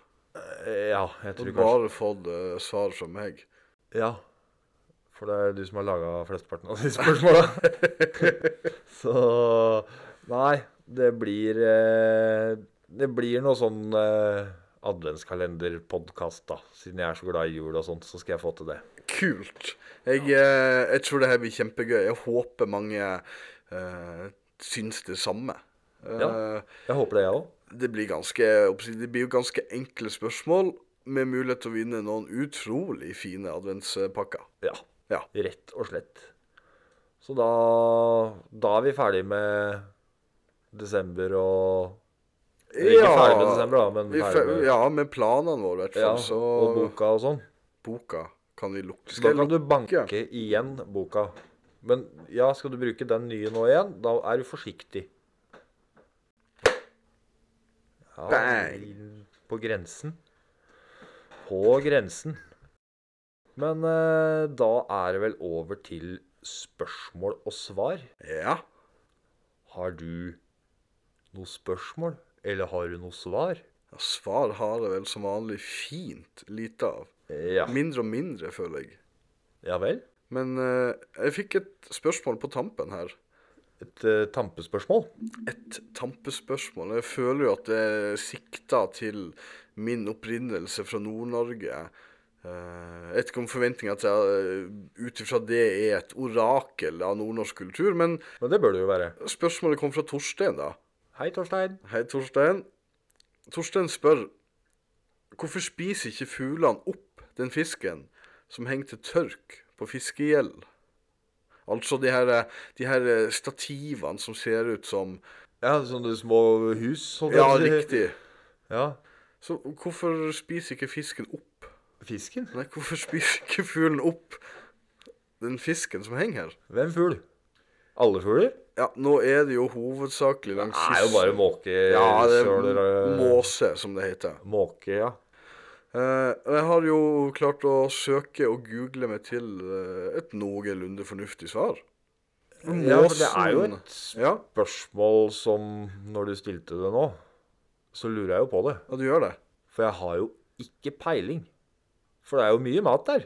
B: Eh, Ja, jeg tror
C: Og
B: kanskje
C: bare fått eh, svar fra meg.
B: Ja. For det er du som har laga flesteparten av de spørsmåla. Så Nei, det blir eh, Det blir noe sånn eh, adventskalenderpodkast, da. Siden jeg er så glad i jul og sånt, så skal jeg få til det.
C: kult. Jeg, eh, jeg tror det her blir kjempegøy. Jeg håper mange eh, syns det samme. Eh,
B: Ja. Jeg håper det, jeg òg.
C: det, blir ganske, det blir jo ganske enkle spørsmål, med mulighet til å vinne noen utrolig fine adventspakker.
B: Ja,
C: Ja.
B: rett og slett. Så da, da er vi ferdig med desember og Ikke ferdig med desember, da, men
C: vi
B: ferdig
C: fe-
B: med-
C: ja, med planene våre, i hvert
B: ja,
C: fall. så
B: og boka og sånn.
C: boka kan vi lukke.
B: Så da
C: jeg
B: kan du
C: lukke?
B: banke igjen boka. Men ja, skal du bruke den nye nå igjen, da er du forsiktig. Ja,
C: Bang!
B: På grensen. På grensen. Men eh, da er det vel over til spørsmål og svar.
C: Ja.
B: Har du noe spørsmål, eller har du noe svar?
C: Ja, Svar har jeg vel som vanlig fint lite av.
B: Ja.
C: Mindre og mindre, føler jeg.
B: Ja vel?
C: Men eh, jeg fikk et spørsmål på tampen her.
B: Et eh, tampespørsmål?
C: Et tampespørsmål. Jeg føler jo at det sikter til min opprinnelse fra Nord-Norge. Eh, Jeg vet ikke om forventninga til eh, ut ifra det er et orakel av nordnorsk kultur, men
B: Men det bør det jo være.
C: spørsmålet kom fra Torstein, da.
B: Hei, Torstein.
C: Hei, Torstein. Torstein spør hvorfor spiser ikke fuglene opp den fisken som henger til tørk på fiskegjeld? Altså de her, de her eh, stativene som ser ut som
B: Ja, sånne små hus? holdt jeg
C: Ja,
B: <laughs> på å si.
C: riktig.
B: Ja.
C: Så hvorfor spiser ikke fisken opp?
B: Fisken?
C: Nei, hvorfor <laughs> spiser ikke fuglen opp den fisken som henger her?
B: Hvem fugl? Alle fugler?
C: Ja, nå er det jo hovedsakelig langs
B: Det er jo bare måke...
C: Ja, det
B: søler,
C: er
B: øh,
C: måse, som det heter.
B: Måke, ja.
C: Eh, og jeg har jo klart å søke og google meg til eh, et noenlunde fornuftig svar.
B: ja. For det er jo
C: Måsen.
B: et
C: Ja,
B: spørsmål som Når du stilte det nå, så lurer jeg jo på det.
C: ja, du gjør det.
B: For jeg har jo ikke peiling. For det er jo mye mat der.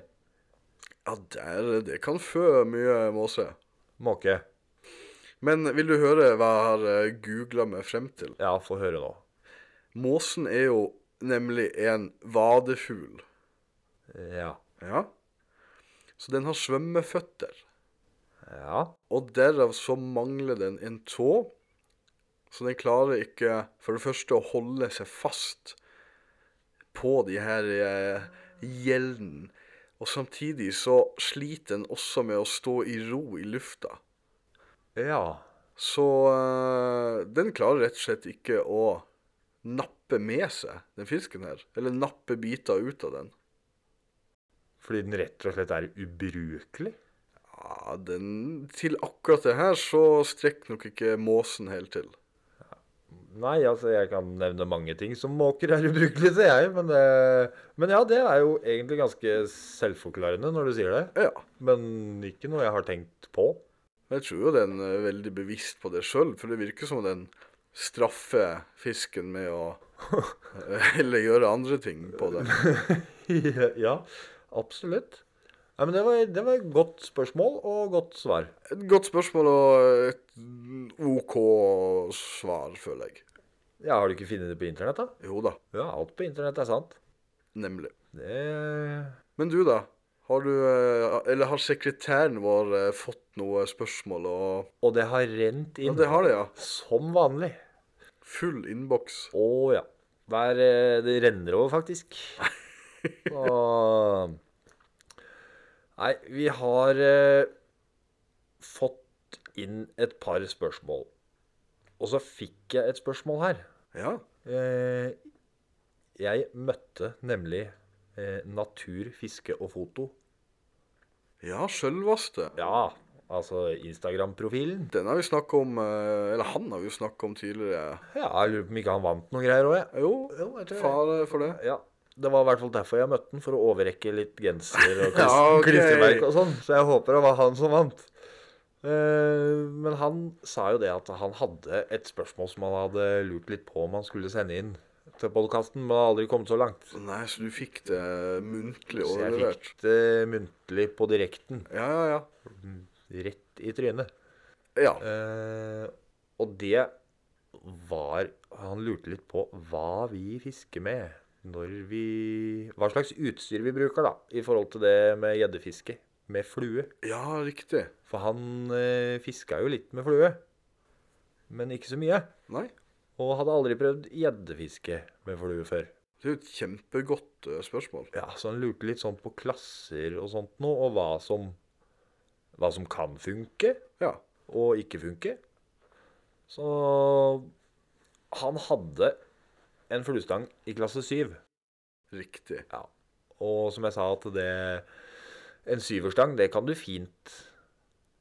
C: Ja, der, det kan fø mye måse.
B: Måke.
C: Men vil du høre hva jeg har eh, googla meg frem til?
B: Ja, få høre nå.
C: Måsen er jo nemlig en vadefugl.
B: Ja.
C: Ja. Så den har svømmeføtter.
B: Ja.
C: Og derav så mangler den en tå, så den klarer ikke for det første å holde seg fast på de her eh, gjelden. Og samtidig så sliter den også med å stå i ro i lufta.
B: Ja.
C: Så eh, den klarer rett og slett ikke å nappe med seg den fisken her. Eller nappe biter ut av den.
B: Fordi den rett og slett er ubrukelig?
C: Ja, den, til akkurat det her så strekker nok ikke måsen helt til.
B: Nei, altså jeg kan nevne mange ting som måker er ubrukelig, sier jeg. Men, eh, men ja, det er jo egentlig ganske selvforklarende når du sier det.
C: Ja.
B: Men ikke noe jeg har tenkt på. <laughs>
C: Jeg tror jo den er veldig bevisst på det sjøl, for det virker som den straffer fisken med å Eller gjøre andre ting på den.
B: ja, absolutt. Nei, men det var, det var et godt spørsmål og godt svar.
C: Et godt spørsmål og et OK svar, føler jeg.
B: Ja, Har du ikke funnet det på internett, da?
C: Jo da,
B: Ja, alt på internett er sant.
C: nemlig.
B: Det
C: Men du, da? Har du eh, Eller har sekretæren vår eh, fått noe spørsmål og
B: Og det har rent
C: Ja,
B: inn.
C: det har det, ja.
B: Som vanlig.
C: Full innboks.
B: Å ja. Hver, eh, det renner over, <laughs> faktisk. Og Nei, vi har eh, fått inn et par spørsmål. Og så fikk jeg et spørsmål her.
C: Ja.
B: Eh, jeg møtte nemlig eh, Natur, fiske og foto.
C: Ja, sjølvaste.
B: Ja, altså Instagram-profilen.
C: Den har vi snakka om eh, Eller han har vi jo snakka om tidligere.
B: Ja, jeg lurer på om ikke han vant noen greier òg, jeg.
C: Jo,
B: Jo, jeg tror det.
C: fare for det.
B: Ja, det var i hvert fall derfor jeg møtte den, for å overrekke litt genser
C: <laughs>
B: og klist-
C: Ja, ok.
B: klistremerker og sånn. Så jeg håper det var han som vant. Eh, Men han sa jo det at han hadde et spørsmål som han hadde lurt litt på om han skulle sende inn til podkasten, men har aldri kommet så langt.
C: Nei, så du fikk det muntlig
B: Så jeg
C: overlevert?
B: fikk det muntlig på direkten,
C: Ja, ja, ja.
B: rett i trynet.
C: Ja,
B: Eh, Og det var Han lurte litt på hva vi fisker med når vi Hva slags utstyr vi bruker, da, i forhold til det med gjeddefiske med flue.
C: Ja, riktig.
B: For han eh, fiska jo litt med flue, men ikke så mye.
C: Nei,
B: Og hadde aldri prøvd gjeddefiske med flue før.
C: det er jo et kjempegodt eh, spørsmål.
B: Ja, Så han lurte litt sånn på klasser og sånt nå, og hva som, hva som kan funke
C: Ja.
B: og ikke funke. Så han hadde en fluestang i klasse syv.
C: Riktig.
B: Ja. Og som jeg sa, at det En syverstang, det kan du fint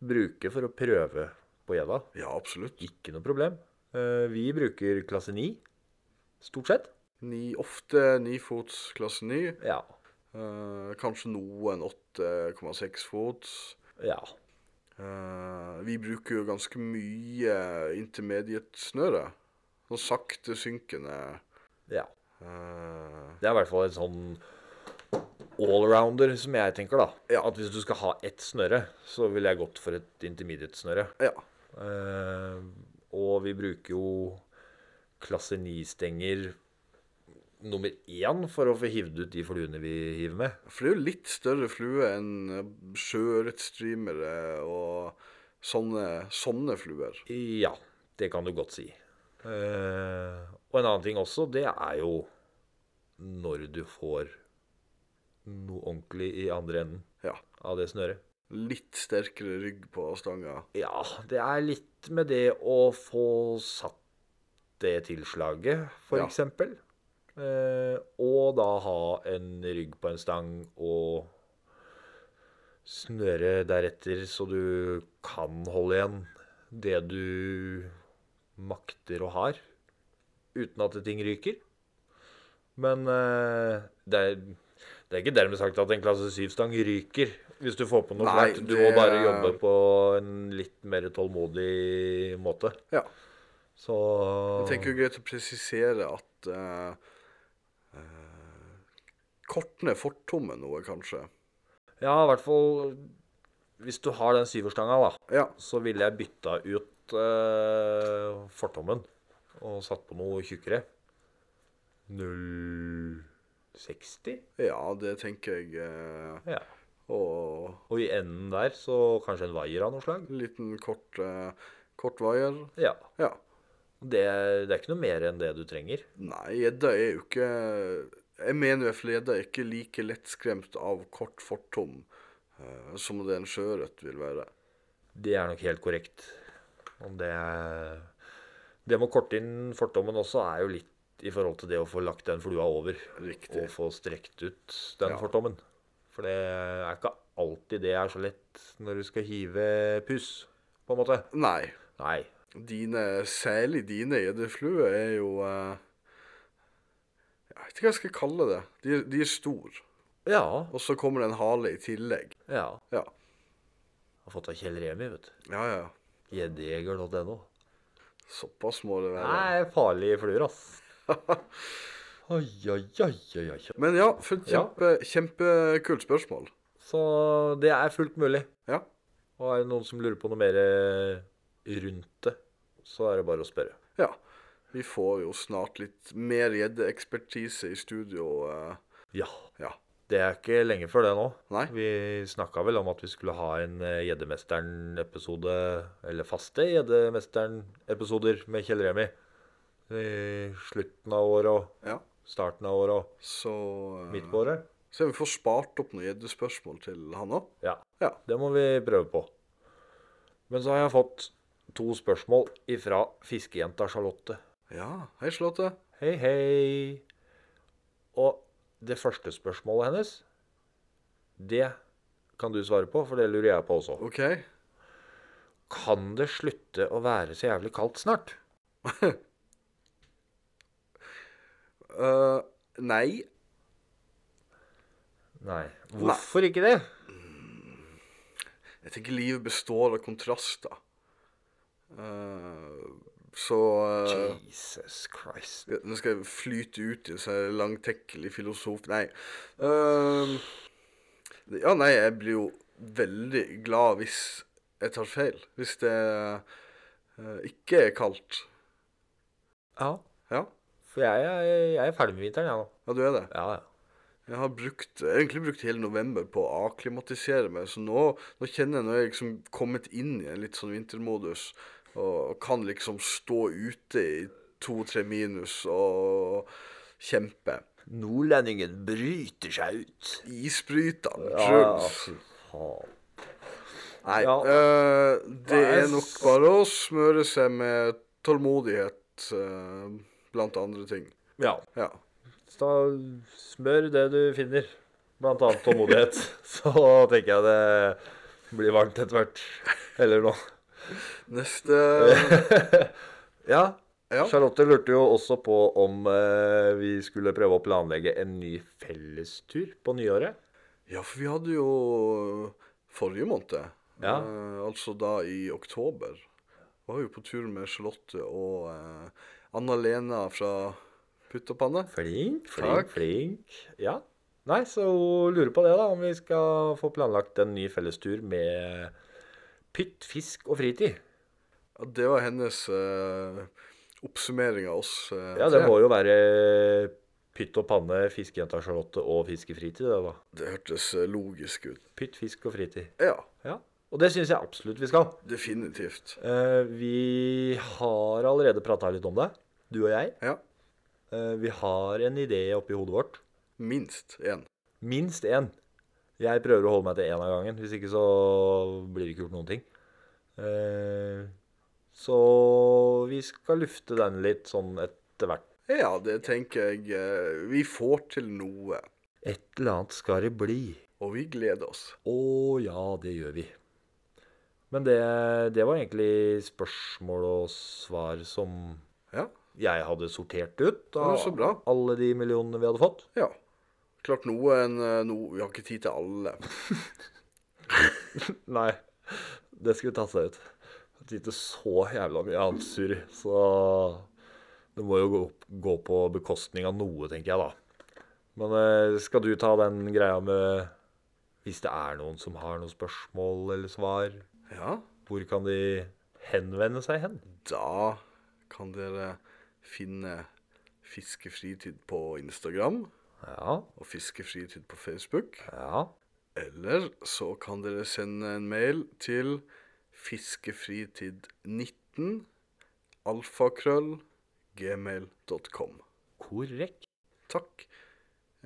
B: bruke for å prøve på gjedda.
C: Ja, absolutt.
B: Ikke noe problem. Eh, Vi bruker klasse 9, stort sett.
C: Ni, ofte nifots klasse 9.
B: Ja.
C: Eh, kanskje noen 8,6 fots.
B: ja.
C: Eh, vi bruker jo ganske mye intermediate-snøre. Sånn sakte synkende
B: ja.
C: eh,
B: Det er i hvert fall en sånn allrounder, som jeg tenker, da. At hvis du skal ha ett snøre, så ville jeg gått for et intermediate-snøre.
C: Ja.
B: Eh, og vi bruker jo klasse 9-stenger nummer én for å få hivd ut de fluene vi hiver med.
C: For det er jo litt større flue enn eh, sjøørretstreamere og sånne, sånne fluer.
B: Ja, det kan du godt si. Eh, og en annen ting også, det er jo når du får noe ordentlig i andre enden
C: Ja.
B: av det snøret.
C: Litt sterkere rygg på stanga.
B: Ja, det er litt med det å få satt det tilslaget, for
C: Ja.
B: eksempel. Eh, og da ha en rygg på en stang og snøre deretter, så du kan holde igjen det du makter og har, uten at ting ryker. Men eh, det, er, det er ikke dermed sagt at en klasse 7-stang ryker hvis du får på noe
C: Nei,
B: svært. Du
C: det
B: må bare
C: er-
B: jobbe på en litt mer tålmodig måte.
C: Ja.
B: Så
C: Jeg tenker jo greit å presisere at eh, eh, kortene er fortomme noe, kanskje.
B: Ja, i hvert fall hvis du har den syverstanga, da.
C: Ja.
B: så ville jeg bytta ut eh, fortommen og satt på noe tjukkere. 060?
C: ja, det tenker jeg. eh,
B: Ja.
C: og
B: Og i enden der så kanskje en vaier av noe slag?
C: en liten kort, eh, kort vaier.
B: Ja.
C: Ja.
B: Det, det er ikke noe mer enn det du trenger.
C: Nei, gjedda er jo ikke Jeg mener i hvert fall gjedda er ikke like lettskremt av kort fortom eh, som det en sjøørret vil være.
B: Det er nok helt korrekt. Om det er Det med å korte inn fortommen også er jo litt i forhold til det å få lagt den flua over.
C: Riktig.
B: Og få strekt ut den
C: Ja.
B: fortommen. For det er ikke alltid det er så lett når du skal hive puss, på en måte.
C: Nei.
B: Nei.
C: Dine, særlig dine gjeddefluer er jo eh, Jeg vet ikke hva jeg skal kalle det. De, er- de er store.
B: Ja.
C: Og så kommer det en hale i tillegg.
B: ja.
C: Ja.
B: Har fått av Kjell Remi, vet du.
C: Ja, ja.
B: Gjeddejeger.no.
C: Såpass må det være.
B: Nei, farlige fluer, ass.
C: <laughs>
B: Oi, oi, oi, oi, oi.
C: Men ja, for et
B: Ja.
C: kjempe, kjempekult spørsmål.
B: Så det er fullt mulig.
C: Ja.
B: Og er det noen som lurer på noe mer eh, rundt det, så er det bare å spørre.
C: ja. Vi får jo snart litt mer gjeddeekspertise i studio. eh,
B: Ja.
C: Ja.
B: Det er ikke lenge før det nå.
C: Nei.
B: Vi snakka vel om at vi skulle ha en eh, Gjeddemesteren-episode, eller faste Gjeddemesteren-episoder med Kjell Remi. I slutten av året og
C: Ja.
B: starten av året og
C: Så eh,
B: midt på året.
C: Så vi får spart opp noen gjeddespørsmål til han òg.
B: Ja.
C: Ja.
B: Det må vi prøve på. Men så har jeg fått to spørsmål ifra fiskejenta Charlotte.
C: Ja. Hei, Charlotte.
B: Hei, hei. Og det første spørsmålet hennes, det kan du svare på, for det lurer jeg på også.
C: OK.
B: Kan det slutte å være så jævlig kaldt snart?
C: Eh, nei.
B: Nei. Hvorfor ikke det?
C: Jeg tenker livet består av kontraster. Eh, så
B: Øh.
C: eh,
B: Jesus Christ.
C: Nå skal jeg flyte ut i en sånn langtekkelig filosof Nei. Eh, ja, nei, jeg blir jo veldig glad hvis jeg tar feil. Hvis det eh, ikke er kaldt.
B: Ja,
C: Ja.
B: For jeg, er- jeg er ferdig med vinteren, jeg nå.
C: Ja, du er det.
B: Ja, ja.
C: Jeg har brukt, egentlig brukt hele november på å akklimatisere meg, så nå, nå kjenner jeg når jeg liksom kommet inn i en litt sånn vintermodus, og kan liksom stå ute i to-tre minus og kjempe.
B: Nordlendingen bryter seg ut.
C: Isbryteren,
B: Ja, ja,
C: Truls.
B: fy faen.
C: Nei,
B: Ja.
C: øh, det
B: Nei,
C: er nok bare å smøre seg med tålmodighet, øh, blant andre ting.
B: Ja.
C: Ja.
B: Så da smør det du finner. Blant annet tålmodighet. <laughs> Så tenker jeg det blir varmt etter hvert. Eller noe.
C: Neste
B: <laughs> Ja.
C: Ja.
B: Charlotte lurte jo også på om eh, vi skulle prøve å planlegge en ny fellestur på nyåret.
C: Ja, for vi hadde jo forrige måned,
B: Ja.
C: eh, altså da i oktober, var jo på tur med Charlotte og eh, Anna-Lena fra Puttapanne.
B: Flink,
C: Takk.
B: flink, flink. Ja. Nei, så hun lurer på det, da. Om vi skal få planlagt en ny fellestur med pytt, fisk og fritid.
C: Ja, det var hennes eh, oppsummering av oss. eh,
B: Ja, det
C: tre.
B: må jo være pytt og panne, fiskejenta Charlotte og fiskefritid, det da.
C: det hørtes eh, logisk ut.
B: Pytt, fisk og fritid.
C: Ja,
B: Ja. Og det syns jeg absolutt vi skal.
C: definitivt.
B: Eh, vi har allerede prata litt om det, du og jeg.
C: Ja,
B: Eh, vi har en idé oppi hodet vårt.
C: minst én.
B: Minst én. Jeg prøver å holde meg til én av gangen. Hvis ikke så blir det ikke gjort noen ting. Eh, så vi skal lufte den litt sånn etter hvert.
C: Ja, det tenker jeg eh, vi får til noe,
B: Et eller annet skal det bli.
C: og vi gleder oss.
B: Å ja, det gjør vi. Men det, det var egentlig spørsmål og svar som
C: Ja,
B: jeg hadde sortert ut
C: men så bra.
B: alle de millionene vi hadde fått.
C: ja. Klart noen, eh, no, vi har ikke tid til alle.
B: Nei, det skulle tatt seg ut. Det er ikke så jævla mye annet surr, så det må jo gå, gå på bekostning av noe, tenker jeg da. Men eh, skal du ta den greia med hvis det er noen som har noen spørsmål eller svar,
C: Ja,
B: hvor kan de henvende seg hen?
C: Da kan dere finne Fiskefritid på Instagram
B: Ja,
C: og Fiskefritid på Facebook.
B: ja.
C: Eller så kan dere sende en mail til fiskefritid19 alfakrøll gmail.com.
B: Korrekt.
C: Takk.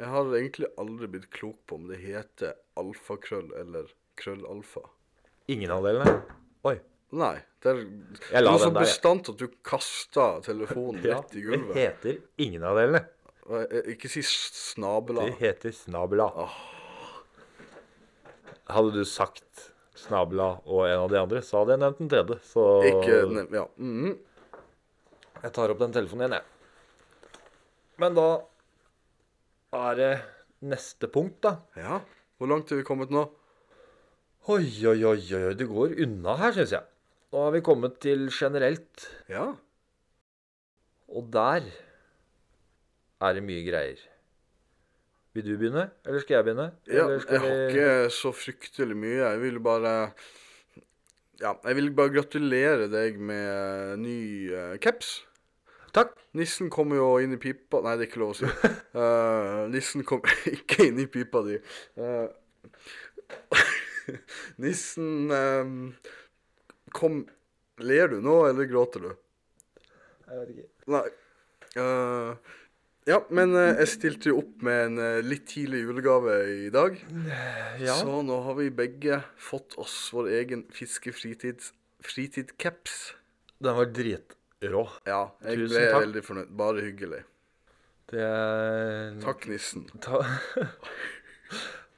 C: Jeg har egentlig aldri blitt klok på om det heter alfakrøll eller krøllalfa.
B: Ingen av delene. Oi.
C: Nei, det er
B: Jeg la
C: noe
B: den
C: sånn
B: der, jeg.
C: bestandt at du kaster telefonen
B: <laughs> Ja,
C: rett
B: det
C: i gulvet.
B: heter ingen av delene.
C: Og jeg- Ikke si snabela.
B: Det heter snabla. Hadde du sagt snabla og en av de andre, så hadde jeg nevnt den tredje. Så
C: Ikke nev- Ja. mhm.
B: jeg tar opp den telefonen igjen, jeg. Men da er det neste punkt, da.
C: ja. Hvor langt er vi kommet nå?
B: Oi, oi, oi, oi, oi, det går unna her, syns jeg. Nå har vi kommet til generelt,
C: Ja.
B: og der er det mye greier. Vil du begynne, eller skal jeg begynne?
C: ja
B: Eller skal
C: jeg har
B: vi-
C: ikke så fryktelig mye. Jeg vil bare Ja, jeg vil bare gratulere deg med ny eh, caps.
B: Takk.
C: Nissen kommer jo inn i pipa Nei, det er ikke lov
B: <laughs>
C: å si. Eh, nissen kom <laughs> ikke inn i pipa di. Eh, <laughs> nissen eh, kom Ler du nå, eller gråter du?
B: Jeg vet ikke.
C: Nei. Eh, ja, men eh, jeg stilte jo opp med en eh, litt tidlig julegave i dag.
B: Ja.
C: Så nå har vi begge fått oss vår egen fiskefritids fritidcaps.
B: Den var dritrå.
C: Ja, jeg
B: Tusen
C: ble
B: takk.
C: veldig fornøyd. Bare hyggelig.
B: Det er
C: Takk, nissen.
B: Ta... <laughs>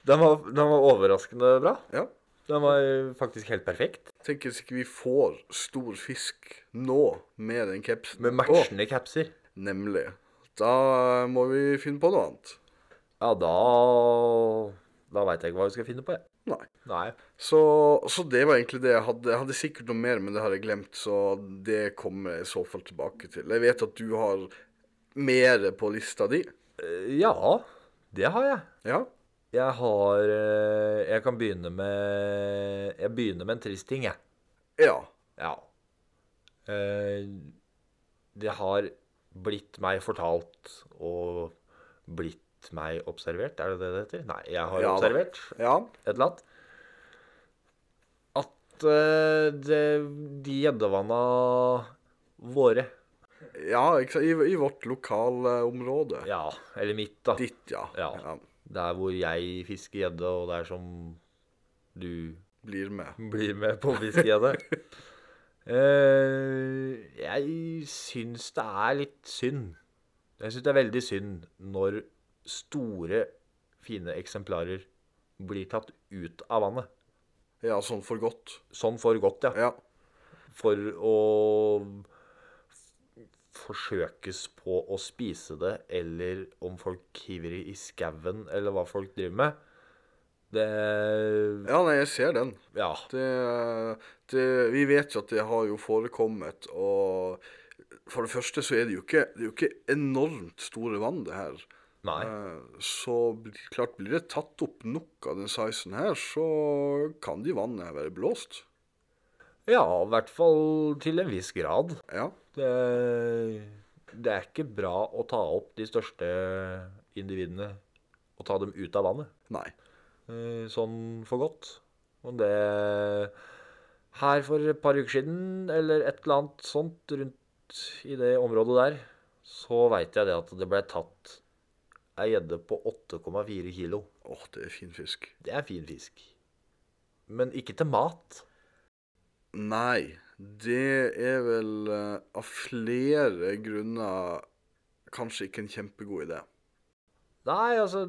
B: den, var, den var overraskende bra.
C: Ja.
B: Den var faktisk helt perfekt.
C: Tenk hvis ikke vi får stor fisk nå med den capsen.
B: Med
C: Å,
B: matchende capser.
C: nemlig. Da eh, må vi finne på noe annet.
B: Ja, da Da veit jeg ikke hva vi skal finne på, jeg.
C: Nei.
B: Nei.
C: Så, så det var egentlig det jeg hadde. Jeg hadde sikkert noe mer, men det har jeg glemt. Så det kommer jeg i så fall tilbake til. Jeg vet at du har mer på lista di.
B: Eh, Ja, det har jeg.
C: Ja?
B: Jeg har eh, Jeg kan begynne med Jeg begynner med en trist ting, jeg.
C: Ja.
B: Ja. Eh, Det har blitt meg fortalt og blitt meg observert. Er det det det heter? Nei, jeg har
C: Ja da.
B: observert
C: Ja.
B: et eller annet. At eh, det, de gjeddevanna våre
C: ja ikke sant? I, I vårt lokalområde.
B: Ja, eller mitt, da.
C: Ditt, ja.
B: Ja. Der hvor jeg fisker gjedde, og der som du
C: Blir med.
B: blir med på å fiske gjedde. Eh, jeg syns det er litt synd. Jeg syns det er veldig synd når store, fine eksemplarer blir tatt ut av vannet.
C: Ja, sånn for godt.
B: Sånn for godt, ja.
C: Ja.
B: For å f- forsøkes på å spise det, eller om folk hiver i skauen, eller hva folk driver med. Det
C: Ja, nei, jeg ser den.
B: Ja.
C: Det, det, vi vet jo at det har jo forekommet, og for det første så er det jo ikke, det er jo ikke enormt store vann, det her.
B: Nei.
C: Eh, Så blir- klart blir det tatt opp nok av den sizen her, så kan de vannene her være blåst.
B: Ja, i hvert fall til en viss grad.
C: Ja.
B: Det, Eh, det er ikke bra å ta opp de største individene og ta dem ut av vannet.
C: Nei.
B: eh, Sånn for godt. Og det Her for et par uker siden, eller et eller annet sånt rundt i det området der, så veit jeg det at det ble tatt ei gjedde på 8,4 kilo.
C: Åh, det er fin fisk.
B: Det er fin fisk. Men ikke til mat.
C: Nei, det er vel eh, av flere grunner kanskje ikke en kjempegod idé.
B: Nei, altså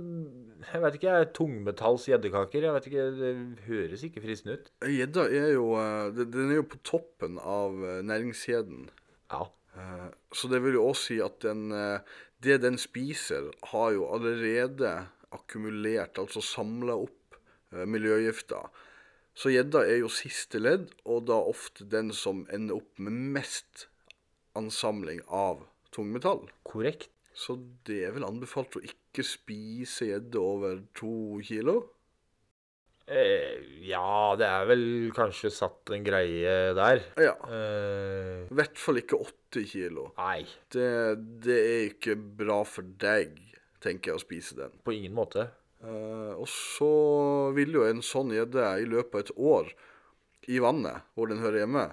B: Jeg vet ikke. jeg. Tungmetalls gjeddekaker. Jeg vet ikke, Det høres ikke fristende ut.
C: Gjedda er jo eh, den- Den er jo på toppen av eh, næringskjeden.
B: Ja.
C: Eh, Så det vil jo også si at den, eh, det den spiser, har jo allerede akkumulert, altså samla opp, eh, miljøgifter. Så gjedda er jo siste ledd, og da ofte den som ender opp med mest ansamling av tungmetall.
B: Korrekt.
C: Så det er vel anbefalt å ikke spise gjedde over to kilo?
B: Eh, ja, det er vel kanskje satt en greie der.
C: Ja.
B: Eh,
C: I hvert fall ikke åtte kilo.
B: nei,
C: Det, det er ikke bra for deg, tenker jeg, å spise den.
B: på ingen måte.
C: Eh, og så vil jo en sånn gjedde i løpet av et år i vannet, hvor den hører hjemme,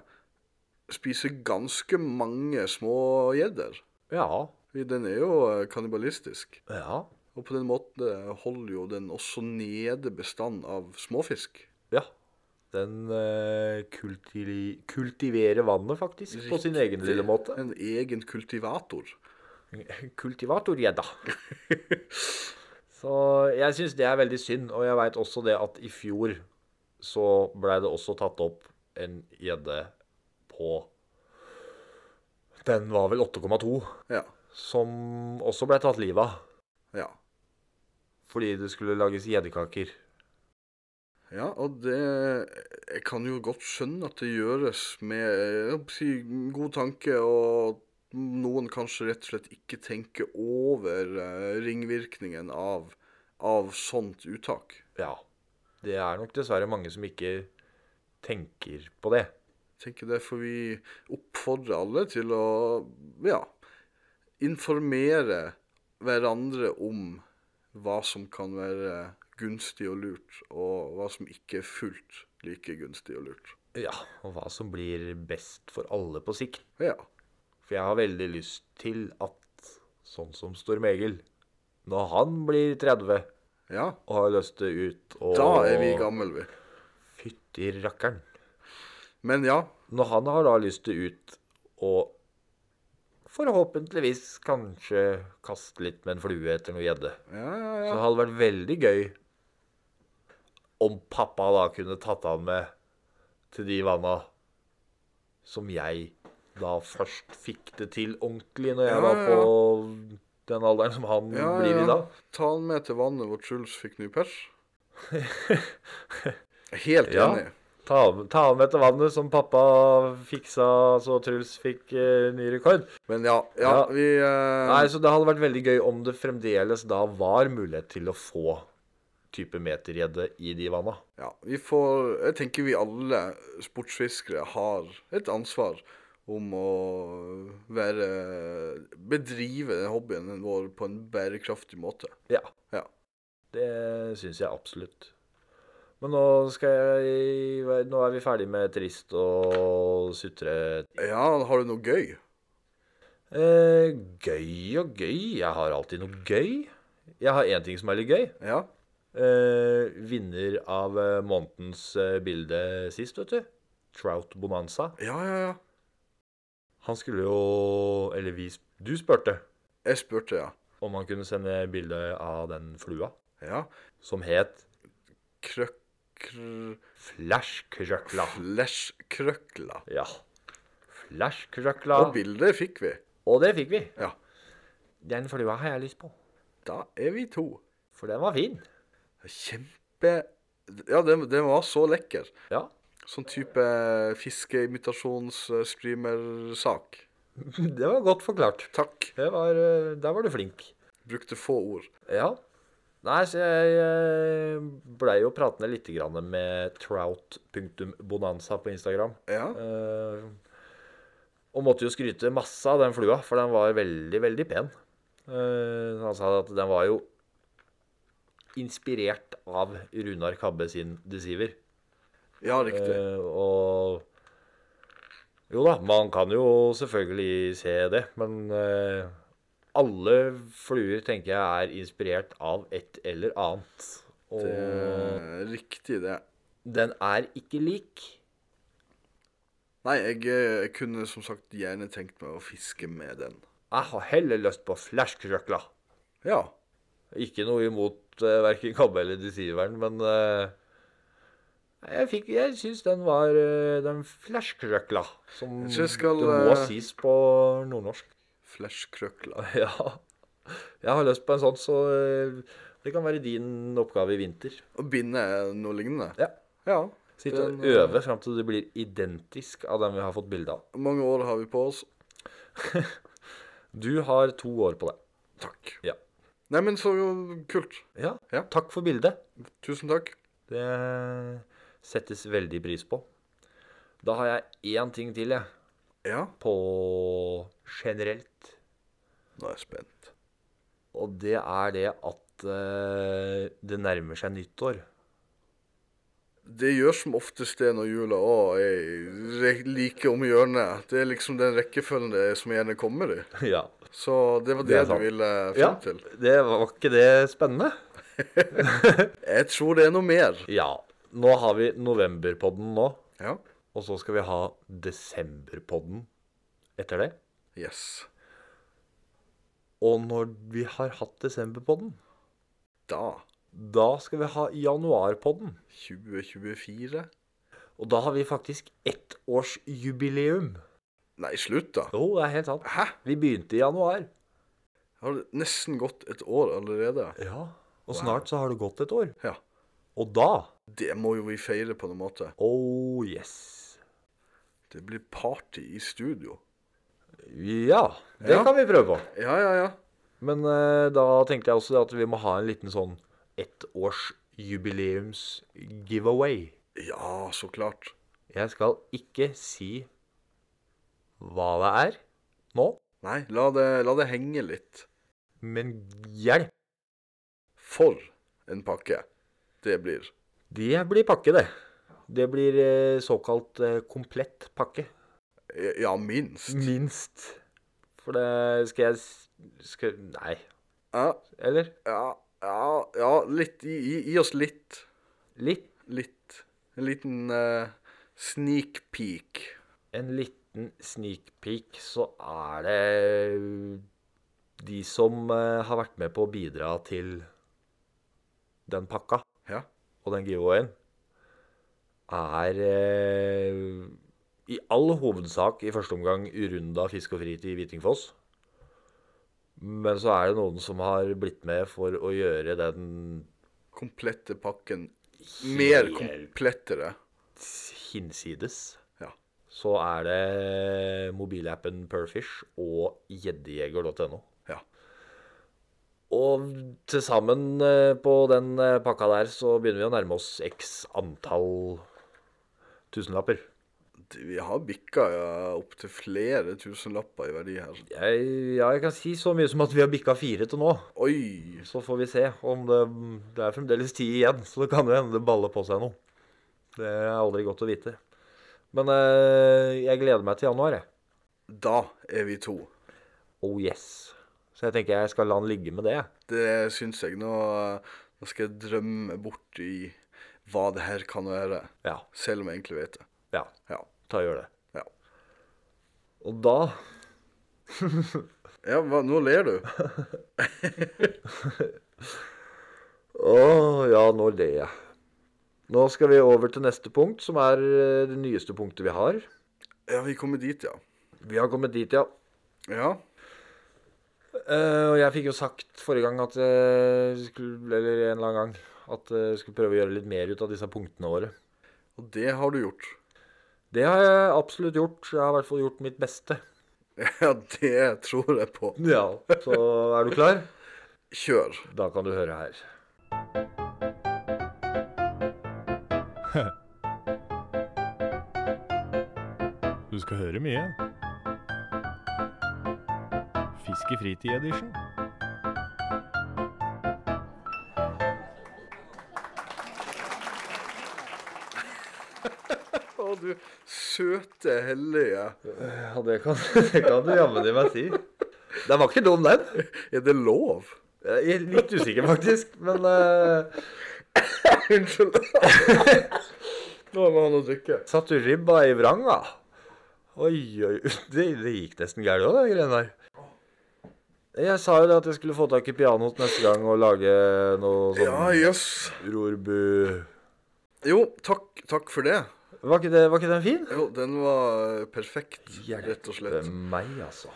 C: spise ganske mange små gjedder.
B: Ja.
C: Fordi Den er jo eh, kannibalistisk.
B: Ja.
C: Og på den måten eh, holder jo den også nede bestanden av småfisk.
B: ja. Den eh, kulti kultiverer vannet, faktisk, på sin egen lille måte.
C: En egen kultivator.
B: Kultivatorgjedda. <laughs> Så jeg syns det er veldig synd, og jeg veit også det at i fjor så blei det også tatt opp en gjedde på Den var vel 8,2,
C: Ja.
B: som også blei tatt livet av
C: Ja.
B: fordi det skulle lages gjeddekaker.
C: Ja, og det Jeg kan jo godt skjønne at det gjøres med jeg holdt på å si, god tanke, og noen kanskje rett og slett ikke tenker over eh, ringvirkningen av, av sånt uttak.
B: Ja. Det er nok dessverre mange som ikke tenker på det.
C: Jeg tenker Derfor vi oppfordrer alle til å ja, informere hverandre om hva som kan være gunstig og lurt, og hva som ikke er fullt like gunstig og lurt.
B: Ja, og hva som blir best for alle på sikt.
C: Ja.
B: For jeg har veldig lyst til at sånn som Storm-Egil, når han blir 30
C: ja.
B: og har lyst til ut og
C: Da er vi gamle, vi.
B: Fytti rakkeren.
C: Men ja,
B: Når han har da lyst til ut og forhåpentligvis kanskje kaste litt med en flue etter noe gjedde,
C: ja, ja,
B: så
C: ja.
B: det hadde vært veldig gøy om pappa da kunne tatt han med til de vanna som jeg da først fikk det til ordentlig når jeg
C: Ja,
B: var
C: ja, ja.
B: på den alderen som han
C: ja,
B: blir i
C: ja.
B: da.
C: Ta han med til vannet hvor Truls fikk ny
B: <laughs>
C: pers. Helt
B: Ja.
C: enig.
B: Ta, ta han med til vannet som pappa fiksa så Truls fikk eh, ny rekord.
C: Men ja, ja,
B: Ja.
C: vi eh,
B: Nei, så Det hadde vært veldig gøy om det fremdeles da var mulighet til å få type metergjedde i de vanna.
C: ja, vi får Jeg tenker vi alle sportsfiskere har et ansvar om å være Bedrive den hobbyen vår på en bærekraftig måte.
B: Ja.
C: Ja.
B: Det syns jeg absolutt. Men nå skal jeg Nå er vi ferdig med trist og sutre.
C: Ja, har du noe gøy?
B: Eh, gøy og gøy. Jeg har alltid noe gøy. Jeg har én ting som er litt gøy.
C: Ja?
B: Eh, vinner av eh, månedens eh, bilde sist, vet du. Trout Bonanza.
C: Ja, ja, ja.
B: Han skulle jo Eller vi Du spurte
C: Jeg spurte, ja.
B: om han kunne sende bilde av den flua
C: Ja.
B: som het
C: Krøkr...
B: Flashkrøkla.
C: Flashkrøkla.
B: Ja. Flashkrøkla.
C: Og bildet fikk vi.
B: Og det fikk vi.
C: Ja.
B: Den flua har jeg lyst på.
C: Da er vi to.
B: For den var fin.
C: Kjempe Ja, den, den var så lekker.
B: Ja.
C: Sånn type fiskeimitasjons-streamersak.
B: <laughs> Det var godt forklart.
C: Takk.
B: Det var, eh, der var du flink.
C: Brukte få ord.
B: Ja. Nei, så jeg eh, blei jo pratende litt grann med trout.bonanza på Instagram.
C: Ja.
B: Eh, og måtte jo skryte masse av den flua, for den var veldig, veldig pen. Eh, han sa at den var jo inspirert av Runar Kabbe sin Deceiver.
C: Ja, riktig.
B: Eh, og Jo da, man kan jo selvfølgelig se det, men eh, alle fluer tenker jeg er inspirert av et eller annet. Og
C: Eh, riktig, det.
B: den er ikke lik.
C: Nei, jeg, eh, kunne som sagt gjerne tenkt meg å fiske med den.
B: Jeg har heller lyst på flashkrøkla.
C: Ja.
B: Ikke noe imot eh, verken Kabbe eller Deceiveren, men eh, jeg, fikk, jeg syns den var eh, den flashkrøkla, som
C: Jeg skal,
B: det må
C: eh,
B: sies på nordnorsk.
C: Flashkrøkla.
B: <laughs> Ja. Jeg har lyst på en sånn, så eh, det kan være din oppgave i vinter.
C: Å binde noe lignende.
B: Ja.
C: Ja.
B: Sitte og
C: den, eh,
B: øve fram til det blir identisk av den vi har fått bilde av.
C: Mange år har vi på oss.
B: Du har to år på deg.
C: Takk.
B: Ja.
C: Neimen, så kult.
B: ja.
C: Ja.
B: Takk for bildet.
C: Tusen takk.
B: Det settes veldig pris på. Da har jeg én ting til, jeg.
C: Ja.
B: På generelt.
C: Nå er jeg spent.
B: Og det er det at eh, det nærmer seg nyttår. <laughs>
C: Det gjør som oftest det når jula òg er re- like om hjørnet. Det er liksom den rekkefølgen det er som gjerne kommer i.
B: ja.
C: Så det var
B: Det
C: det,
B: er
C: du
B: sant.
C: ville
B: ja.
C: frem til.
B: Det var ikke det spennende?
C: Jeg tror det er noe mer.
B: Ja. Nå har vi novemberpodden nå,
C: Ja.
B: og så skal vi ha desemberpodden etter det.
C: Yes.
B: Og når vi har hatt desemberpodden,
C: Da.
B: da skal vi ha januarpodden.
C: 2024?
B: Og da har vi faktisk ettårsjubileum.
C: Nei, slutt, da.
B: Jo, det er helt sant.
C: Hæ?
B: Vi begynte i januar.
C: Har det nesten gått et år allerede?
B: Ja. Og snart så har det gått et år.
C: Ja.
B: Og da
C: Det må jo vi feire på noen måte.
B: Oh yes.
C: Det blir party i studio.
B: Ja, det
C: Ja.
B: kan vi prøve på.
C: Ja, ja, ja.
B: Men eh, da tenkte jeg også det at vi må ha en liten sånn ettårsjubileums-giveaway.
C: Ja, så klart.
B: Jeg skal ikke si hva det er nå,
C: Nei, la det, la det henge litt.
B: men hjelp!
C: For en pakke det blir.
B: Det blir pakke, det. Det blir eh, såkalt eh, komplett pakke.
C: Ja, minst.
B: Minst. For det skal jeg s- skal, Nei.
C: Ja,
B: Eller?
C: ja, ja, ja litt. Gi, gi, gi oss litt.
B: Litt.
C: Litt. En liten eh, sneak peek.
B: En liten sneak peek, så er det de som eh, har vært med på å bidra til den pakka.
C: Ja.
B: og den giveawayen er eh, i all hovedsak i første omgang Urunda Fisk og Fritid i Hvitingfoss. Men så er det noen som har blitt med for å gjøre den
C: Komplette pakken. Mer
B: Helt.
C: komplettere.
B: hinsides.
C: Ja.
B: Så er det mobilappen Perfish og gjeddejeger.no.
C: Ja.
B: Og til sammen eh, på den eh, pakka der så begynner vi å nærme oss x antall tusenlapper.
C: vi har bikka ja, opptil flere tusenlapper i verdi her.
B: Jeg, ja, jeg kan si så mye som at vi har bikka fire til nå.
C: Oi!
B: Så får vi se om det Det er fremdeles tid igjen, så det kan jo hende det baller på seg noe. Det er aldri godt å vite. Men eh, jeg gleder meg til januar, jeg.
C: Da er vi to.
B: Oh yes. Så jeg tenker jeg skal la den ligge med det. jeg.
C: Det syns jeg. Nå, nå skal jeg drømme bort i hva det her kan være.
B: Ja.
C: Selv om jeg egentlig vet det.
B: Ja.
C: Ja.
B: Ta og gjør det.
C: ja.
B: Og da
C: ja hva, nå ler du.
B: Å ja, nå ler jeg. Nå skal vi over til neste punkt, som er eh, det nyeste punktet vi har.
C: Ja, vi kommer dit, ja.
B: Vi har kommet dit, ja.
C: Ja.
B: Eh, og jeg fikk jo sagt forrige gang at jeg skulle, eller en eller annen gang at jeg skulle prøve å gjøre litt mer ut av disse punktene våre.
C: Og det har du gjort. <laughs>
B: Det har jeg absolutt gjort. Jeg har i hvert fall gjort mitt beste.
C: Ja, det tror jeg på.
B: Ja, <laughs> Så er du klar?
C: Kjør.
B: Da kan du høre her.
A: Du skal høre mye. Fiskefritid edition.
C: Å, du søte hellige.
B: Ja, det kan, <laughs> det kan du jammen i meg si. Den var ikke dum, den.
C: Er det lov? <laughs>
B: Jeg er litt usikker, faktisk. Men eh,
C: Unnskyld. <laughs> Nå må jeg ha noe å drikke.
B: satt du ribba i vranga? Oi, oi, <laughs> det, det gikk nesten gærent òg, de greiene der. Jeg sa jo det at jeg skulle få tak i pianoet neste gang og lage noe sånn
C: Ja, jøss.
B: rorbu...
C: Jo, takk, takk for det.
B: Var ikke, det, var ikke den fin?
C: Jo, den var eh, perfekt, rett og slett.
B: Hjelpe meg, altså.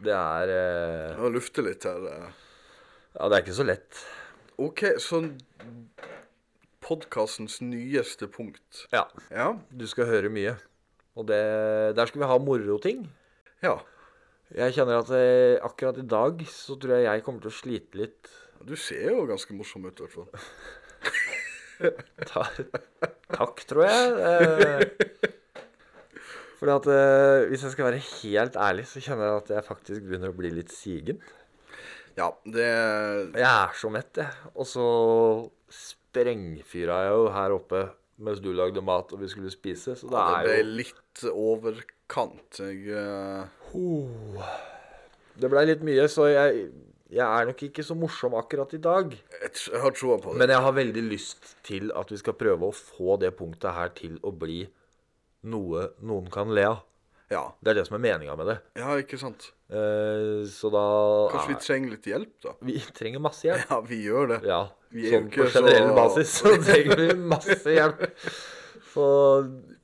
B: Det er eh,
C: Jeg må lufte litt her. eh.
B: Ja, det er ikke så lett.
C: OK, så podkastens nyeste punkt.
B: Ja.
C: Ja.
B: Du skal høre mye. Og det, der skal vi ha moroting.
C: ja.
B: Jeg kjenner at eh, akkurat i dag så tror jeg jeg kommer til å slite litt.
C: Du ser jo ganske morsom ut, i hvert fall.
B: Ta, takk, tror jeg. Eh, fordi at eh, hvis jeg skal være helt ærlig, så kjenner jeg at jeg faktisk begynner å bli litt sigen.
C: Ja, det
B: Jeg er så mett, jeg. Og så sprengfyra jeg jo her oppe mens du lagde mat og vi skulle spise, så det
C: Det
B: er
C: ble
B: jo
C: litt overkant. Jeg, eh,
B: Ho. Det blei litt mye, så jeg, jeg er nok ikke så morsom akkurat i dag.
C: jeg, tr- jeg har troa på det.
B: Men jeg har veldig lyst til at vi skal prøve å få det punktet her til å bli noe noen kan le av.
C: Ja,
B: Det er det som er meninga med det.
C: ja ikke sant?
B: Eh, så da
C: Kanskje vi
B: er-
C: trenger litt hjelp, da? <laughs>
B: vi trenger masse hjelp.
C: Ja, vi gjør det.
B: Ja,
C: Vi er jo
B: sånn på
C: ikke så-
B: generell basis
C: <laughs>
B: så trenger vi masse hjelp. Så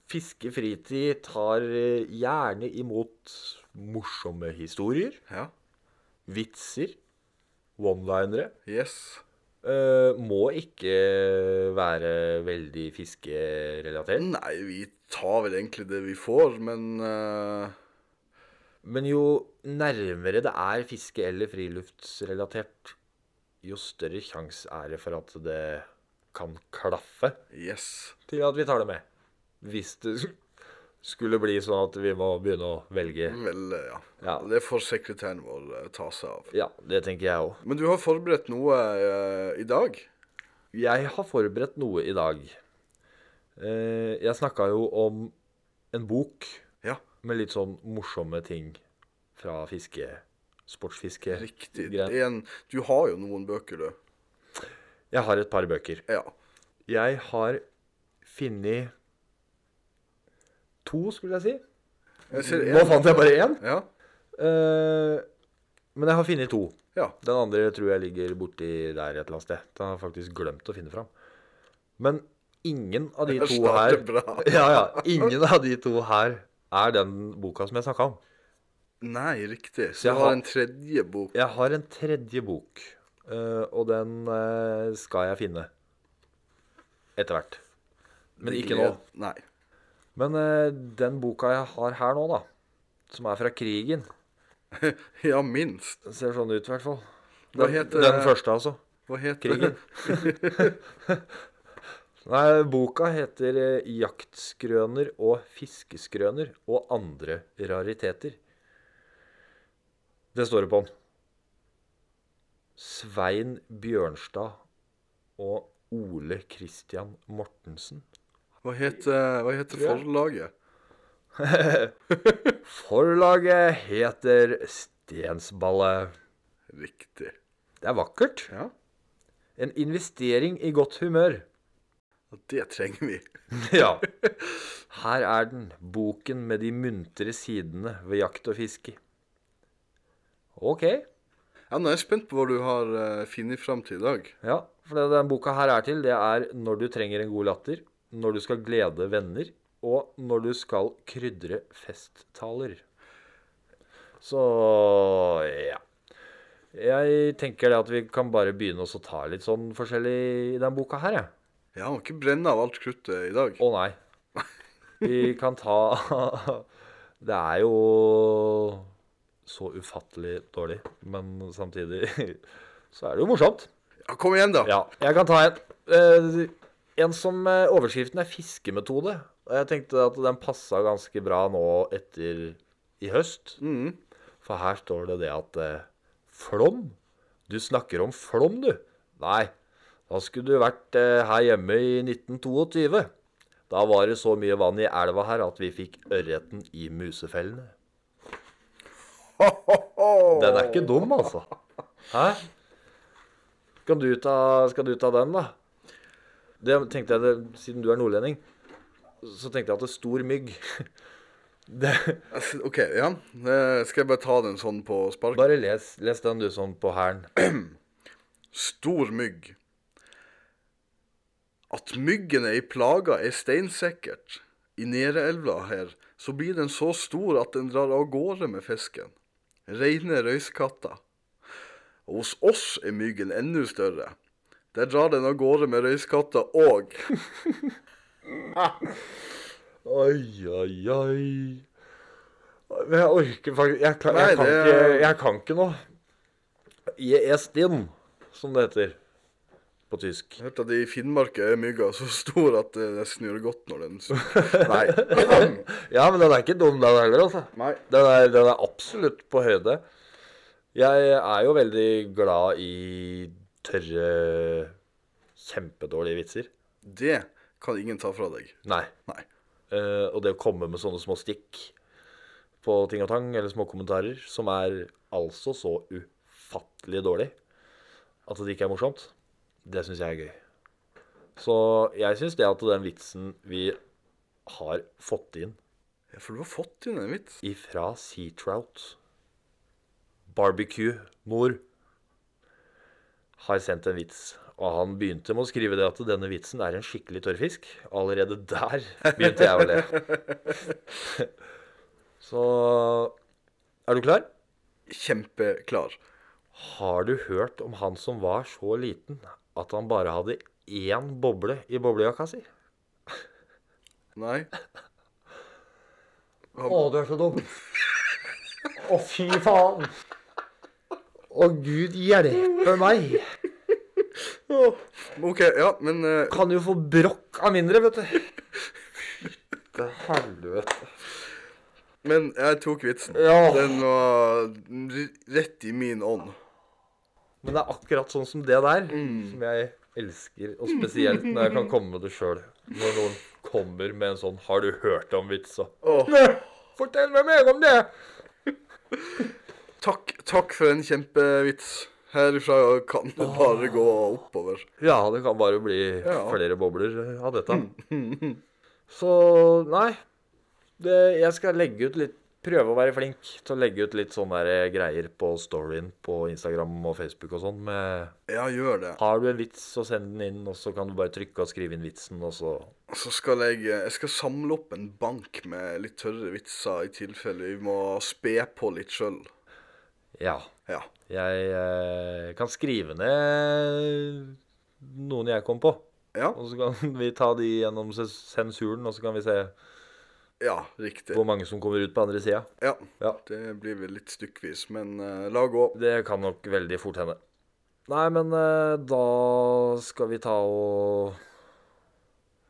B: Fiskefritid tar eh, gjerne imot morsomme historier,
C: Ja.
B: vitser, one-linere.
C: Yes.
B: Eh, må ikke være veldig fiskerelatert.
C: Nei, vi tar vel egentlig det vi får, men eh,
B: Men jo nærmere det er fiske- eller friluftsrelatert, jo større sjanse er det for at det kan klaffe
C: yes.
B: til at vi tar det med. Hvis det skulle bli sånn at vi må begynne å velge.
C: Vel, eh, ja.
B: Ja.
C: Det får sekretæren vår eh, ta seg av.
B: Ja, det tenker jeg òg.
C: Men du har forberedt noe eh, i dag?
B: Jeg har forberedt noe i dag. Eh, Jeg snakka jo om en bok
C: Ja.
B: med litt sånn morsomme ting fra fiske, sportsfiske.
C: Riktig.
B: Greit.
C: En, du har jo noen bøker, du.
B: Jeg har et par bøker.
C: Ja.
B: Jeg har funnet to, skulle jeg si.
C: Jeg ser
B: Nå
C: en.
B: fant jeg bare én.
C: Ja.
B: Eh, Men jeg har funnet to.
C: ja.
B: Den andre tror jeg ligger borti der et eller annet sted. Den har jeg faktisk glemt å finne fram. Men ingen av de
C: Jeg
B: to her
C: starter bra.
B: <laughs> ja, ja, Ingen av de to her er den boka som jeg snakka om.
C: Nei, riktig.
B: Så
C: Så
B: jeg
C: du
B: har-
C: har en tredje bok.
B: Jeg har en tredje bok, eh, og den eh, skal jeg finne. Etter hvert. Men ikke nå.
C: Nei.
B: Men eh, den boka jeg har her nå, da, som er fra krigen
C: Ja, minst.
B: den Ser sånn ut, i hvert fall.
C: Hva
B: Den,
C: heter- eh,
B: den første, altså.
C: Hva heter
B: Krigen. Nei, boka heter eh, 'Jaktskrøner og fiskeskrøner og andre rariteter'. Det står det på den. Svein Bjørnstad og Ole Christian Mortensen.
C: <laughs> Hva heter, hva heter
B: Ja.
C: forlaget?
B: Forlaget heter Stensballet.
C: Riktig.
B: Det er vakkert.
C: Ja.
B: En investering i godt humør.
C: Og Det trenger vi.
B: Ja. <laughs> Her er den, boken med de muntre sidene ved jakt og fiske. Ok.
C: Ja, nå er jeg spent på hva du har eh, funnet fram til i dag.
B: Ja, for det den boka her er til, det er når du trenger en god latter, når du skal glede venner, og når du skal krydre festtaler. Så ja. Jeg tenker det at vi kan bare begynne oss å ta litt sånn forskjellig i den boka her, jeg.
C: Ja, må ikke brenne av alt kruttet i dag.
B: Å nei. Vi kan ta <laughs> Det er jo så ufattelig dårlig, men samtidig <laughs> så er det jo morsomt.
C: Ja, kom igjen, da!
B: Ja, jeg kan ta en. Eh, En som eh, overskriften er fiskemetode. Og jeg tenkte at den passa ganske bra nå etter i høst.
C: Mhm.
B: For her står det det at eh, Flom? Du snakker om Flom, du? Nei, da skulle du vært eh, her hjemme i 1922. Da var det så mye vann i elva her at vi fikk ørreten i musefellene. Den er ikke dum, altså. Hæ? Skal du ta, skal du ta den, da? Det tenkte jeg, det, Siden du er nordlending, så tenkte jeg at det er stor mygg. <laughs> Det,
C: Altså, OK, ja. Eh, skal jeg bare ta den sånn på spark?
B: bare les, les den, du, sånn på hælen.
C: Stor mygg. At myggen er i plaga er steinsikkert. I Nereelva her så blir den så stor at den drar av gårde med fisken. Reine røyskatter. Og hos oss er myggen enda større. Der drar den av gårde med røyskatter og
B: Oi, oi, oi. Men jeg orker faktisk Jeg kan,
C: Nei,
B: jeg kan,
C: det-
B: ikke, jeg kan ikke noe. E Jestin, som det heter på tysk.
C: Hørte at i Finnmark er mygga så stor at eh, det nesten gjør godt når den suger. Nei.
B: Ja, men den er ikke dum, den heller, altså.
C: Nei.
B: Den er, den er absolutt på høyde. Jeg er jo veldig glad i tørre, kjempedårlige vitser.
C: Det kan ingen ta fra deg.
B: Nei.
C: Nei.
B: Eh, og det å komme med sånne små stikk på ting og tang, eller små kommentarer, som er altså så ufattelig dårlig at det ikke er morsomt, det syns jeg er gøy. Så jeg syns det at den vitsen vi har fått inn
C: Ja, For du har fått inn en vits.
B: ifra Sea Trout. Barbecue Mor har sendt en vits, og han begynte med å skrive det at denne vitsen er en skikkelig tørrfisk. Allerede der begynte jeg å le. <laughs> Så er du klar?
C: Kjempeklar.
B: Har du hørt om han som var så liten at han bare hadde én boble i boblejakka si?
C: Nei.
B: Å, du er så dum. Å, fy faen. Å, gud hjelpe meg.
C: OK, ja, men eh,
B: Kan jo få brokk av mindre, vet du. Fytte helvete.
C: Men jeg tok vitsen.
B: Ja.
C: Den var r- rett i min ånd.
B: Men det er akkurat sånn som det der,
C: Mm.
B: som jeg elsker. Og spesielt når jeg kan komme med det sjøl. Når noen kommer med en sånn 'Har du hørt om vitsa?'
C: Åh.
B: Fortell meg mer om det!
C: Takk, takk for en kjempevits. Herifra kan det bare gå oppover.
B: Ja, det kan bare bli
C: Ja.
B: flere bobler eh, av dette. Så nei. Det, jeg skal legge ut litt Prøve å være flink til å legge ut litt sånne der eh, greier på storyen på Instagram og Facebook og sånn med
C: Ja, gjør det.
B: Har du en vits, så send den inn, og så kan du bare trykke og skrive inn vitsen, og så
C: Så skal jeg, jeg skal samle opp en bank med litt tørre vitser i tilfelle vi må spe på litt sjøl.
B: Ja.
C: Ja.
B: Jeg eh, kan skrive ned noen jeg kom på,
C: Ja,
B: og så kan vi ta de gjennom ses- sensuren, og så kan vi se
C: ja riktig.
B: hvor mange som kommer ut på andre sida.
C: Ja.
B: Ja.
C: Det blir vel litt stykkvis, men eh, la gå.
B: Det kan nok veldig fort hende. Nei, men eh, da skal vi ta og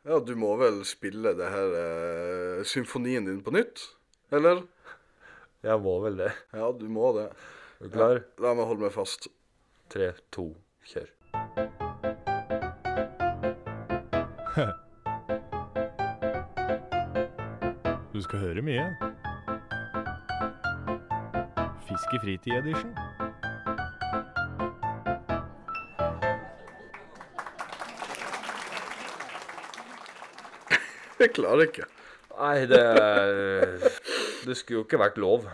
C: Ja, du må vel spille det her eh, symfonien din på nytt? Eller?
B: Jeg må vel det.
C: Ja, du må det.
B: Er du klar?
C: La meg holde meg fast.
B: Tre, to, kjør.
A: <laughs> Du skal høre mye. Fiskefritid-edition.
C: Jeg klarer ikke.
B: Nei, det er Det skulle jo ikke vært lov.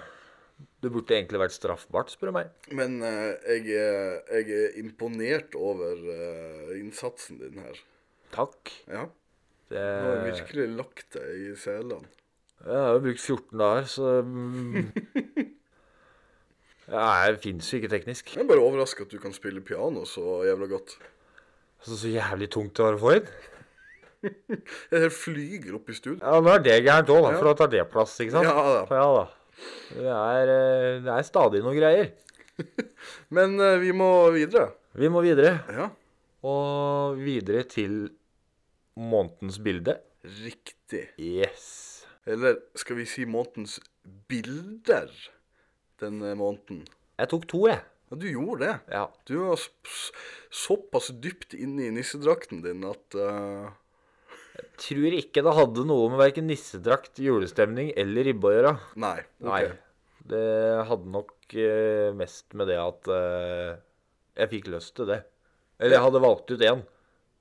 B: Det burde egentlig vært straffbart, spør du meg.
C: Men eh, jeg, er, jeg er imponert over eh, innsatsen din her.
B: Takk.
C: Ja.
B: Det,
C: Du har virkelig lagt deg i selene.
B: jeg har jo brukt 14 dager, så mm. Jeg fins jo ikke teknisk.
C: Jeg er bare overraska at du kan spille piano så jævla godt.
B: Så, så jævlig tungt det var å få inn.
C: Jeg helt flyger opp i studio.
B: Ja, nå er det gærent òg, for da tar det plass, ikke sant?
C: Ja da.
B: ja da. Det er, eh, det er stadig noen greier.
C: Men eh, vi må videre.
B: Vi må videre.
C: Ja.
B: Og videre til månedens bilde.
C: Riktig.
B: Yes.
C: Eller skal vi si månedens bilder denne måneden?
B: Jeg tok to, jeg.
C: Ja, du gjorde det.
B: Ja.
C: Du var s- s- såpass dypt inne i nissedrakten din at eh,
B: Tror ikke det hadde noe med verken nissedrakt, julestemning eller ribbe å gjøre.
C: Nei. ok.
B: Nei. Det hadde nok eh, mest med det at eh, jeg fikk lyst til det. Eller jeg hadde valgt ut én,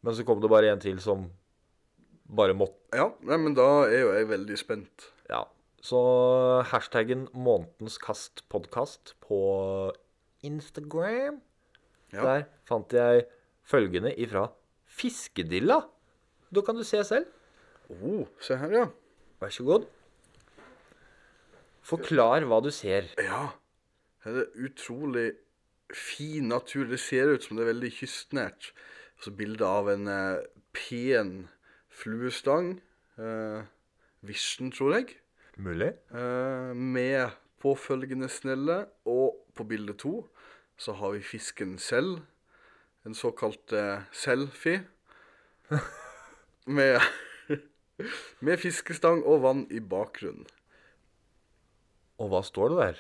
B: men så kom det bare en til som bare måtte.
C: Ja, nei, men da er jo jeg veldig spent.
B: Ja. Så hashtaggen månedens kast podkast på Instagram
C: Ja.
B: Der fant jeg følgende ifra Fiskedilla. Da kan du se selv.
C: Oh, se her, ja.
B: Vær så god. Forklar hva du ser.
C: Ja. Her er det utrolig fin natur. Det ser ut som det er veldig kystnært. Altså bilde av en eh, pen fluestang. Eh, Vision, tror jeg.
B: Mulig.
C: Eh, med påfølgende snelle. Og på bilde to så har vi fisken selv. En såkalt eh, selfie. med, med fiskestang og vann i bakgrunnen.
B: Og hva står det der?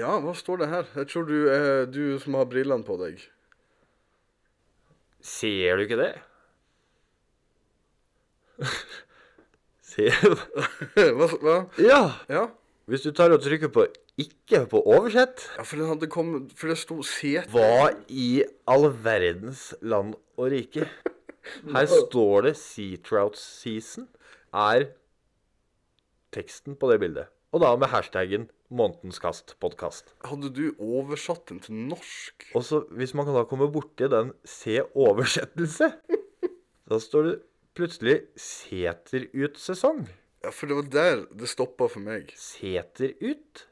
C: Ja, hva står det her? Jeg tror du, eh, du som har brillene på deg <laughs>
B: Ser du ikke det? <laughs> Ser du det?
C: hva, hva?
B: Ja!
C: Ja.
B: Hvis du tar og trykker på 'ikke' på oversett
C: ja, for den hadde kommet For det sto sete.
B: Hva i all verdens land og rike? Her står det 'Sea Trout Season' er teksten på det bildet. Og da med hashtaggen 'Månedens kast podkast'.
C: Hadde du oversatt den til norsk?
B: Og så, hvis man kan da komme borti den 'se oversettelse', da står det plutselig 'seter ut sesong'.
C: Ja, for det var der det stoppa for meg.
B: Seter ut?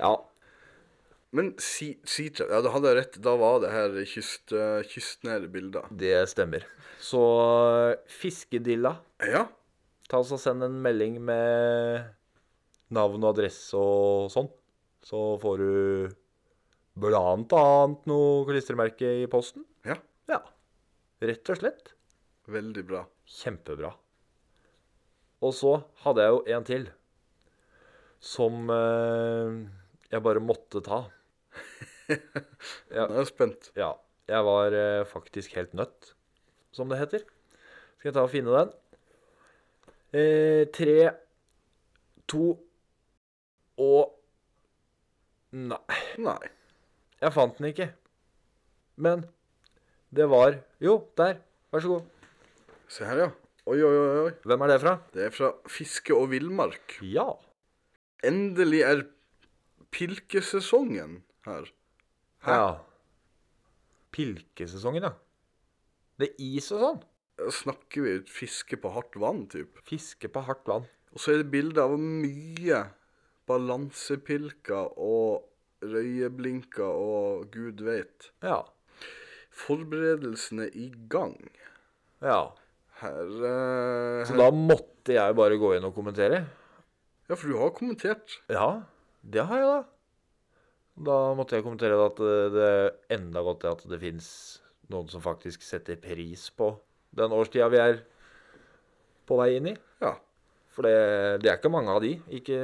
B: Ja.
C: Men sea Seatrap Ja, da hadde jeg rett. Da var det her kyst, eh, kystnære bilder.
B: Det stemmer. Så fiskedilla
C: Ja.
B: Ta oss og Send en melding med navn og adresse og sånn. Så får du blant annet noe klistremerke i posten.
C: ja.
B: Ja. Rett og slett.
C: Veldig bra.
B: Kjempebra. Og så hadde jeg jo en til som eh, jeg bare måtte ta.
C: Nå er jeg spent.
B: Ja, jeg var eh, faktisk helt nødt, som det heter. Skal jeg ta og finne den? Eh, tre, to og Nei,
C: Nei.
B: jeg fant den ikke. Men det var Jo, der. Vær så god.
C: Se her, ja. Oi, oi, oi. oi.
B: Hvem er det fra?
C: Det er fra Fiske og villmark.
B: Ja.
C: Endelig er pilkesesongen her. Hæ?
B: ja. Pilkesesongen, ja. Det er is og sånn.
C: Snakker vi fiske på hardt vann, typ?
B: Fiske på hardt vann.
C: Og så er det bilder av mye balansepilker og røyeblinker og gud veit.
B: Ja.
C: Forberedelsene i gang.
B: ja.
C: Her, eh,
B: Så da måtte jeg bare gå inn og kommentere.
C: Ja, for du har kommentert.
B: Ja, det har jeg da. Da måtte jeg kommentere at eh, det er enda godt at det fins Noen som faktisk setter pris på den årstida vi er på vei inn i.
C: Ja.
B: For det, det er ikke mange av de. Ikke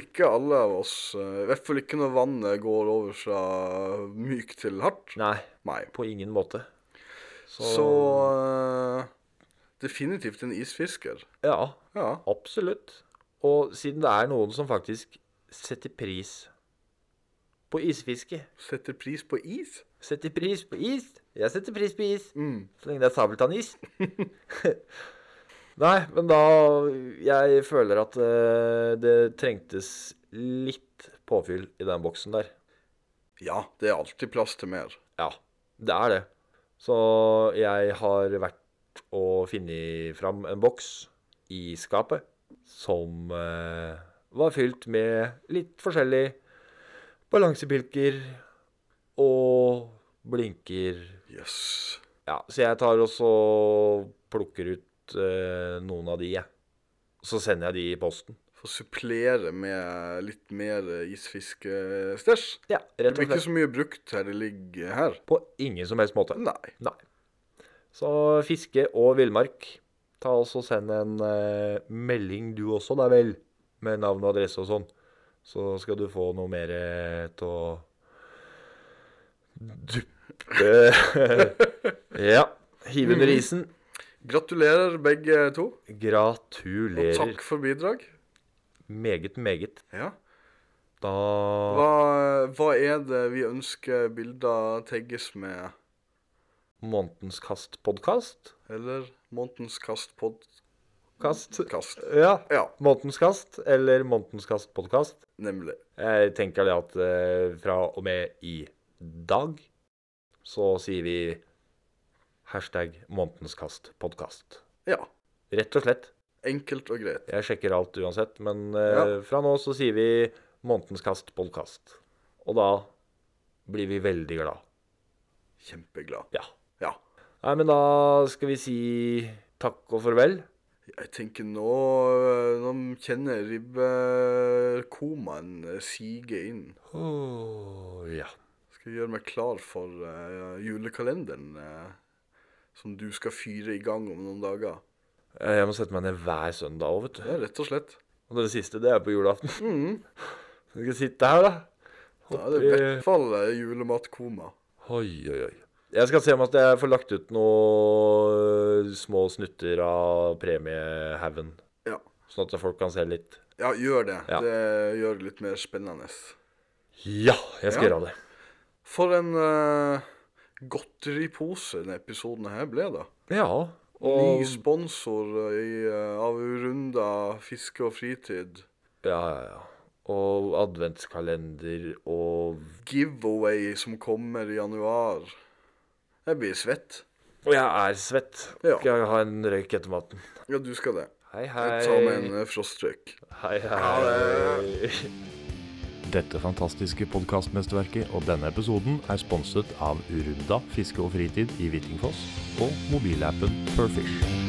C: Ikke alle av oss. eh, I hvert fall ikke når vannet går over fra mykt til hardt.
B: Nei,
C: Nei.
B: på ingen måte. Så,
C: Så eh, definitivt en isfisker.
B: Ja,
C: Ja.
B: absolutt. Og siden det er noen som faktisk setter pris på isfiske
C: Setter pris på is.
B: Setter pris på is. Jeg setter pris på is.
C: Mm.
B: Så lenge det er sabeltannis. <laughs> Nei, men da Jeg føler at eh, det trengtes litt påfyll i den boksen der.
C: Ja, det er alltid plass til mer.
B: Ja, det er det. Så jeg har vært og funnet fram en boks i skapet som eh, var fylt med litt forskjellig balansepilker og blinker
C: Yes.
B: Ja, så jeg tar og så plukker ut eh, noen av de, jeg. Så sender jeg de i posten.
C: Få supplere med litt mer isfiskestæsj.
B: Ja,
C: Det
B: rett
C: blir
B: og
C: ikke
B: slett.
C: så mye brukt her det ligger her.
B: På ingen som helst måte.
C: Nei.
B: Nei. Så fiske og villmark. Ta og så Send en eh, melding du også, da vel, med navn og adresse og sånn. Så skal du få noe mer eh, til å
C: <laughs>
B: duppe Ja. Hive under
C: Mm.
B: isen.
C: Gratulerer begge to, og
B: Gratulerer.
C: takk for bidrag.
B: Meget, meget.
C: Ja.
B: Da
C: Hva, hva er det vi ønsker bilder tagges med?
B: Månedens kast-podkast.
C: Eller Månedens kast podkast?
B: Kast. Ja.
C: Ja,
B: Månedens kast eller Månedens kast-podkast.
C: nemlig.
B: Jeg tenker det at eh, fra og med i dag så sier vi hashtag Månedens kast-podkast.
C: Ja.
B: Rett og slett.
C: Enkelt og greit.
B: Jeg sjekker alt uansett, men eh, fra nå så sier vi Månedens kast-podkast. Og da blir vi veldig glad.
C: Kjempeglad.
B: Ja.
C: Ja.
B: Nei, men da skal vi si takk og farvel.
C: Jeg tenker nå eh, Nå kjenner jeg ribbekomaen eh, sige inn.
B: Oh, ja.
C: Skal gjøre meg klar for eh, julekalenderen eh, som du skal fyre i gang om noen dager.
B: Eh, Jeg må sette meg ned hver søndag òg, vet du.
C: Ja, rett og slett.
B: Og den siste, det er på julaften. <laughs> Du skal sitte her, da.
C: Da er det i hvert fall eh, julematkoma.
B: Oi, oi, oi. Jeg skal se om at jeg får lagt ut noen små snutter av premiehaugen.
C: Ja.
B: Sånn at folk kan se litt.
C: ja, gjør det.
B: Ja.
C: Det gjør det litt mer spennende.
B: Ja, jeg skal
C: Ja.
B: gjøre det.
C: For en uh, godteripose denne episoden her ble, da.
B: Ja.
C: Ny
B: Og
C: sponsor i, eh, av Urunda fiske og fritid.
B: Ja, ja, ja. Og adventskalender og
C: Giveaway som kommer i januar. Jeg blir svett.
B: Og jeg er svett.
C: Ja.
B: Skal jeg ha en røyk etter maten?
C: Ja, du skal det.
B: Hei, hei.
C: Jeg tar meg en eh, frostrøyk.
B: Hei, hei.
A: Dette fantastiske podkastmesterverket og denne episoden er sponset av Urunda fiske og fritid i Hvittingfoss og mobilappen Perfish.